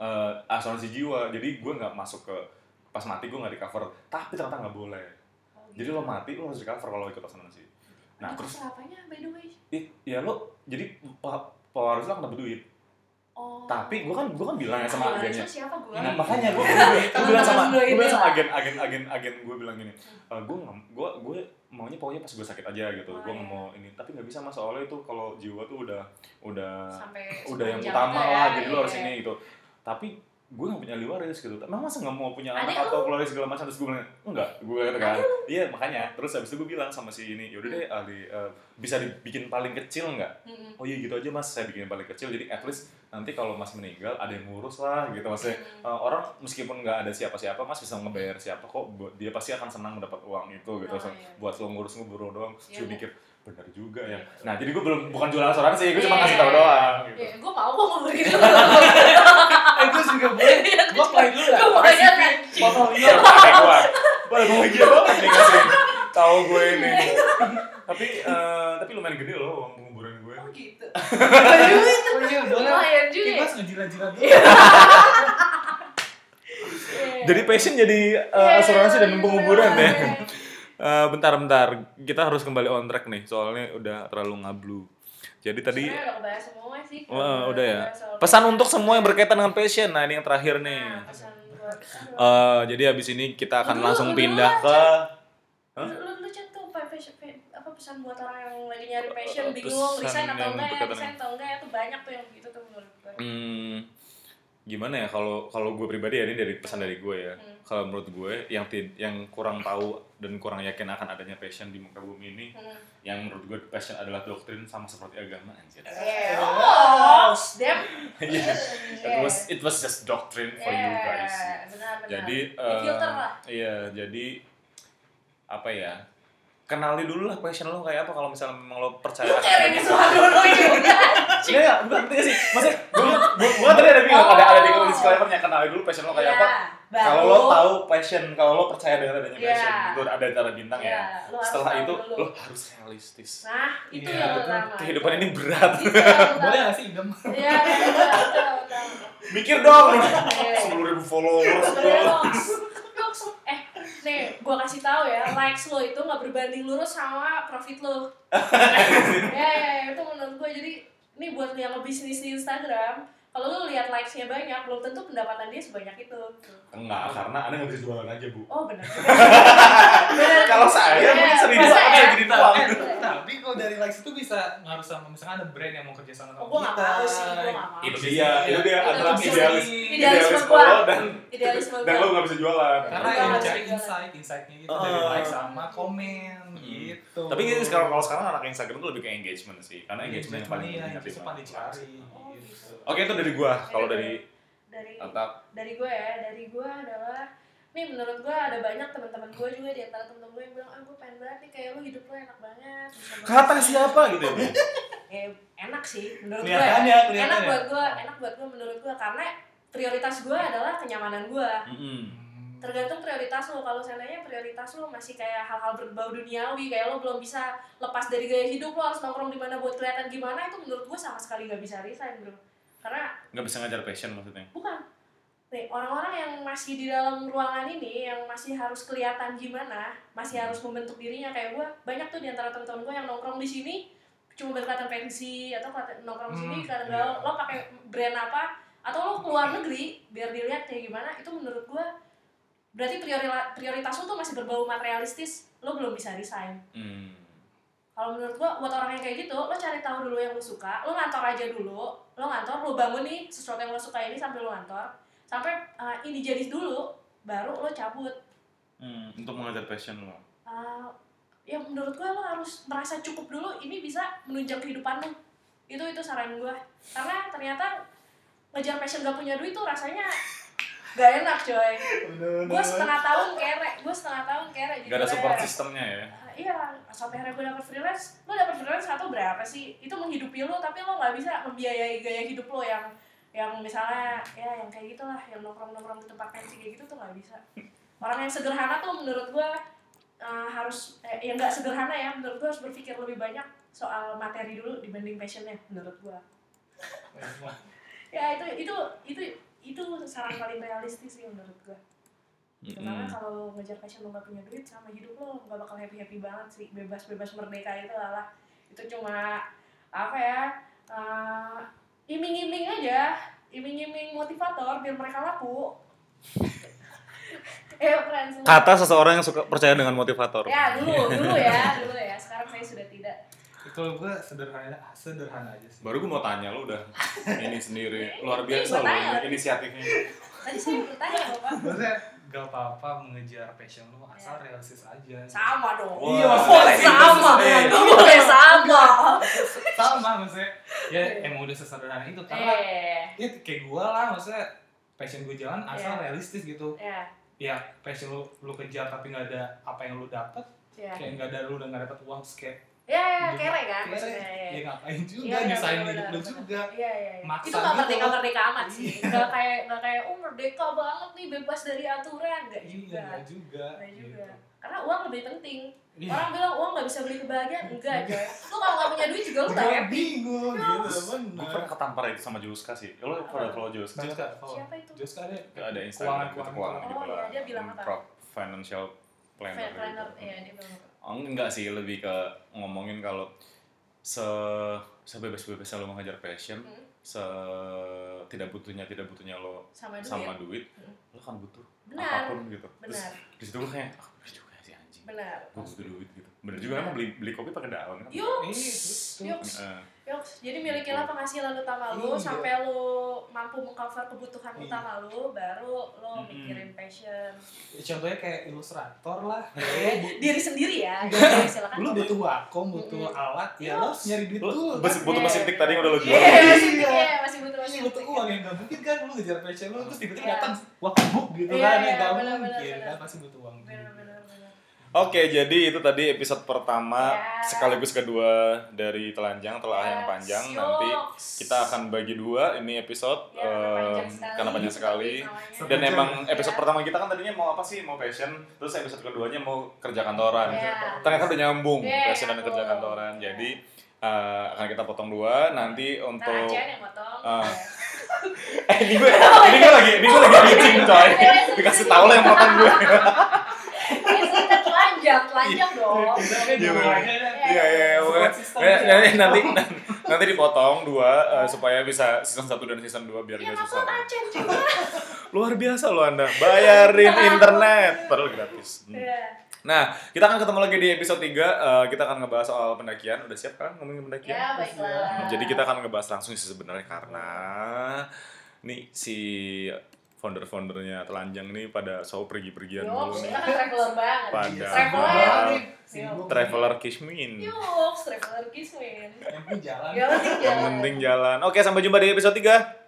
eh, asuransi jiwa jadi gue nggak masuk ke pas mati gue nggak di cover tapi ternyata nggak boleh Oh, jadi gitu. lo mati lo harus di cover kalau ikut asuransi nah Itu terus serapanya, by the way. ih, ya lo jadi pe- pewaris lo akan dapat duit Oh. tapi gue kan gue kan bilang Ah, ya sama gimana agennya sih, siapa gua? Nah, Iya, makanya gue gue bilang sama Temen-temen gue gue bilang sama ini agen agen agen agen gue bilang gini "Eh, gue nggak- gue gue maunya pokoknya pas gue sakit aja gitu Oh, gue nggak iya. mau ini tapi nggak bisa mas soalnya itu kalau jiwa tuh udah udah Sampai udah yang sepanjang utama itu ya, lah jadi lo iya, harus iya. ini gitu tapi gue gak punya ahli waris gitu emang masa gak mau punya Ada anak yang atau keluarga segala macam terus gue bilang enggak gue kata kan iya makanya terus habis itu gue bilang sama si ini yaudah deh ahli eh, bisa dibikin paling kecil nggak Mm-mm. oh iya gitu aja mas saya bikin paling kecil jadi at least nanti kalau mas meninggal ada yang ngurus lah gitu maksudnya Hmm. eh, orang meskipun nggak ada siapa-siapa mas bisa ngebayar siapa kok bu- dia pasti akan senang mendapat uang itu gitu Oh, So, iya. buat lo ngurus ngeburu doang Iya, gue Bu. mikir benar juga ya Iya. nah jadi gue belum bukan jualan asuransi gue Iya. cuma kasih tahu doang gitu Ya, gue mau kok ngomong gitu. Eh, gue juga boleh. Gue apply dulu lah. Gue mau Kasih ya, fee. anjing. Potong Iya, dia. pakai gua. Wah, gua bahagia banget nih kasih tahu gue ini. tapi eh, tapi lumayan gede loh uang penguburan gue. Oh gitu. Oh iya, boleh. Lumayan juga. ya. Ih, Mas ngejilat-jilat gitu dulu. Iya. Jadi passion jadi eh, Iya, asuransi dan iya, penguburan iya, ya. iya. Eh, bentar bentar, kita harus kembali on track nih soalnya udah terlalu ngablu. Jadi tadi Sebenarnya udah kebahas semua sih. eh, udah ya. Soal- Pesan untuk semua yang berkaitan dengan passion. Nah, ini yang terakhir nih. Nah, pesan buat- aduh. Eh, jadi habis ini kita akan Dulu, langsung dulu pindah aja. ke Hah? Lu, lu, lu cek tuh apa, passion, pa- apa pesan buat orang yang lagi nyari passion, Eh, bingung, pesan resign atau yang enggak ya, berkaitan resign atau enggak ya, tuh banyak tuh yang gitu tuh menurut gue. Hmm, gimana ya kalau kalau gue pribadi ya ini dari pesan dari gue ya. Hmm. Kalau menurut gue yang tid- yang kurang tahu dan kurang yakin akan adanya passion di muka bumi ini, Hmm. yang menurut gue passion adalah doktrin sama seperti agama anjir. Yeah. Oh, damn. Yes. It Yeah. was it was just doctrine for you guys. Yeah, Benar-benar. Jadi eh, Di-filter lah. iya, jadi apa ya? Kenali dulu lah passion lo kayak apa kalau misalnya memang lo percaya Lu akan kayak Reni itu. Suhardono juga. Iya, iya, bukan ngerti gak sih? Maksudnya, gue, gue, gue tadi ada bilang, ada, ada di Oh. disclaimer-nya, kenalin dulu passion lo kayak Iya, apa. baru- Kalau lo tahu passion, kalau lo percaya dengan adanya Iya. passion, itu ada cara bintang Iya, ya. lu harus Setelah tahu itu, dulu. lo harus realistis. Nah, Iya. itu Iya, yang betul. utama. Kehidupan ini berat. Itu yang utama. Boleh gak sih idem? Iya, betul, betul, betul. Mikir dong, Iya. sepuluh ribu followers Sebenarnya lo. Nox, Nox, eh, nih, gua kasih tahu ya, likes lo itu nggak berbanding lurus sama profit lo. ya, ya, ya, itu menurut gua jadi ini buat yang ngebisnis di Instagram, kalau lu lihat likes-nya banyak, belum tentu pendapatan dia sebanyak itu. Enggak, karena anda nggak bisa jualan aja bu. Oh, benar. Benar. Kalau saya Iya, mungkin seribu masa aja ya? jadi uang. Eh, Tapi kalau dari likes itu bisa ngaruh sama misalnya ada brand yang mau kerja sama Oh, sama gua nggak tahu sih, gua nggak Ah, tahu. Itu dia, itu dia Itu antara Iya. bisa. idealis, Idealisme idealis gua. lo dan Idealisme dan gua. lo nggak bisa jualan. Karena Iya, yang harus dicari jalan. insight, insightnya gitu Oh. Hmm. dari like sama komen gitu. Tapi ini sekarang kalau sekarang anak Instagram tuh lebih ke engagement sih, karena engagement yang paling Iya, penting. itu paling dicari. Oh, gitu. Oke itu dari gua. Kalau dari Dari atap dari gue ya dari gue adalah nih menurut gue ada banyak teman-teman gue juga di antara teman-teman gue yang bilang ah gue pengen banget nih kayak lu hidup lu enak banget bisa banget." kata siapa gitu ya? Bu? ya, enak sih menurut gue Kelihatannya, enak kelihatannya. buat gue enak buat gue menurut gue karena prioritas gue adalah kenyamanan gue Mm-mm. Hmm. tergantung prioritas lo kalau seandainya prioritas lo masih kayak hal-hal berbau duniawi kayak lo belum bisa lepas dari gaya hidup lo harus nongkrong di mana buat kelihatan gimana itu menurut gue sama sekali gak bisa resign bro karena nggak bisa ngajar passion maksudnya. bukan Nih, orang-orang yang masih di dalam ruangan ini yang masih harus kelihatan gimana masih harus membentuk dirinya kayak gue banyak tuh di antara teman-teman gue yang nongkrong di sini cuma biar kelihatan pensi atau kelihatan nongkrong Hmm, sini kelihatan iya. galau lo pakai brand apa atau lo keluar negeri biar dilihat kayak gimana itu menurut gua berarti priori- prioritas lo tuh masih berbau materialistis lo belum bisa resign Hmm. kalau menurut gua buat orang yang kayak gitu lo cari tahu dulu yang lo suka lo ngantor aja dulu lo ngantor lo bangun nih sesuatu yang lo suka ini sampai lo ngantor sampai uh, ini jadi dulu baru lo cabut Hmm, Untuk mengajar passion lo. Uh, ya menurut gua lo harus merasa cukup dulu ini bisa menunjang kehidupan lo itu itu saran gua karena ternyata ngejar passion gak punya duit tuh rasanya gak enak coy gue setengah tahun kere gue setengah tahun kere jadi Gak ada support kayak- sistemnya ya. Ah, iya sampai akhirnya gue dapet freelance lo dapet freelance satu berapa sih itu menghidupi lo tapi lo nggak bisa membiayai gaya hidup lo yang yang misalnya ya yang kayak gitulah yang nongkrong nongkrong di tempat pensi kayak gitu tuh nggak bisa orang yang sederhana tuh menurut gue eh, harus eh, yang nggak sederhana ya menurut gue harus berpikir lebih banyak soal materi dulu dibanding passionnya menurut gue ya itu itu itu itu saran paling realistis sih menurut gue Gitu, karena Mm-mm. kalau lo ngejar passion lo gak punya duit sama hidup lo gak bakal happy happy banget sih bebas bebas merdeka itu lah lah. itu cuma apa ya eh, iming-iming aja iming-iming motivator biar mereka laku eh friends semua. Kata seseorang yang suka percaya dengan motivator. ya dulu dulu ya dulu ya sekarang saya sudah tidak Hmm. Kalau gue sederhana sederhana aja sih. Baru gue mau tanya lo udah ini sendiri luar Ini gua biasa lo tanya. ini inisiatifnya. tadi saya bertanya bapak Maksudnya gak apa-apa mengejar passion lu asal realistis aja. Iya. sama dong Wah. Iya, boleh maksudnya sama iya. Eh, boleh sama sama maksudnya. Ya emang udah sesederhana itu karena eh ya kayak gue lah maksudnya passion gue jalan Iya. asal realistis gitu. ya Ya passion lu lu kejar tapi nggak ada apa yang lu dapat, ya kayak nggak ada lu udah nggak dapat uang terus kayak ya ya, hidup- kere kan kere. maksudnya ya. ya ngapain juga Iya, iya, nyusahin benar, hidup lu benar. juga. Iya iya. iya. Maksa itu nggak gitu. Iya. merdeka merdeka amat sih. Gak kayak gak kayak oh merdeka banget nih bebas dari aturan nggak Iya, juga. nggak juga. Nggak juga. gitu. Karena uang lebih penting. Iya. Orang bilang uang nggak bisa beli kebahagiaan enggak aja. Lu kalau nggak punya duit juga lu tak Gua happy. bingung gitu Gue benar. pernah ketampar itu sama Juska sih. Lo pernah follow Juska? Jus Juska. kan? follow. Siapa itu? Jus kan ada Ada Instagram gitu, keuangan keuangan. Oh, gitu iya, lah. dia bilang apa? Prop financial planner. Planner, gitu. iya dia bilang. Oh, enggak sih, lebih ke ngomongin kalau se sebebas-bebasnya lo mengejar passion, Hmm, se tidak butuhnya tidak butuhnya lo Sama duit. sama duit, Hmm. lo kan butuh Benar. apapun gitu. Terus Benar. di situ gue kayak, ah bener juga sih anjing. Benar. Gue butuh duit gitu. Bener juga emang beli beli kopi pakai daun kan. Yuks, Ini, itu. yuks, Eh, yuks. Jadi milikilah penghasilan utama lu Iya. sampai lu mampu mengcover kebutuhan Iya. utama lu, baru lu Mm-mm. mikirin passion. Ya, contohnya kayak ilustrator lah Iya, Diri sendiri ya. Diri silakan. lu butuh vakum butuh Mm-mm. alat ya lo harus nyari duit lo dulu bes- butuh Iya. mesin tik tadi yang udah lo jual. Iya, masih Iya. iya, masih butuh Iya, masih butuh uang yang gak mungkin kan lu ngejar passion lu terus tiba-tiba Iya. datang waktu book gitu Iya, kan iya, yang gak benar, benar, mungkin benar. kan pasti butuh uang Benar, benar, benar. Oke, jadi itu tadi episode pertama Ya. sekaligus kedua dari telanjang telah yang Yes, panjang. yuk. Nanti kita akan bagi dua ini episode Ya, karena panjang sekali. em, Iya, karena panjang sekali. Namanya. Dan Satu jam. emang episode Ya. pertama kita kan tadinya mau apa sih? Mau passion, terus episode keduanya mau kerja kantoran. Ya. Ternyata udah nyambung Ya, passion dan nyambung. kerja kantoran. Ya. Jadi eh, akan kita potong dua nanti Ntar untuk Aceh yang potong. Ah. eh ini gue Oh, ini iya. gue lagi ini gue lagi editing coy. Dikasih tahu lah yang potong gue. Ini kita Iya, telanjang, telanjang dong. Iya, Iya. Iya iya iya, Support pokoknya- system ya, ya, ya. ya, nanti nanti dipotong dua eh, supaya bisa season 1 dan season 2 biar Iya, gak upload susah. Aceh juga. Luar biasa lo Anda. Bayarin Kenapa? internet padahal gratis. Hmm. Iya. Nah, kita akan ketemu lagi di episode 3 eh, kita akan ngebahas soal pendakian. Udah siap kan ngomongin pendakian? Ya, baiklah. Jadi kita kan akan ngebahas langsung sih sebenarnya karena nih si founder-foundernya Telanjang nih pada so pergi-pergian Yuk, dulu kita nih. kan traveler banget. Pada Traveler. Sibuk. Traveler Kismin. Yuk, traveler kismin. yang penting jalan Gak penting Yang penting jalan. Oke, sampai jumpa di episode 3.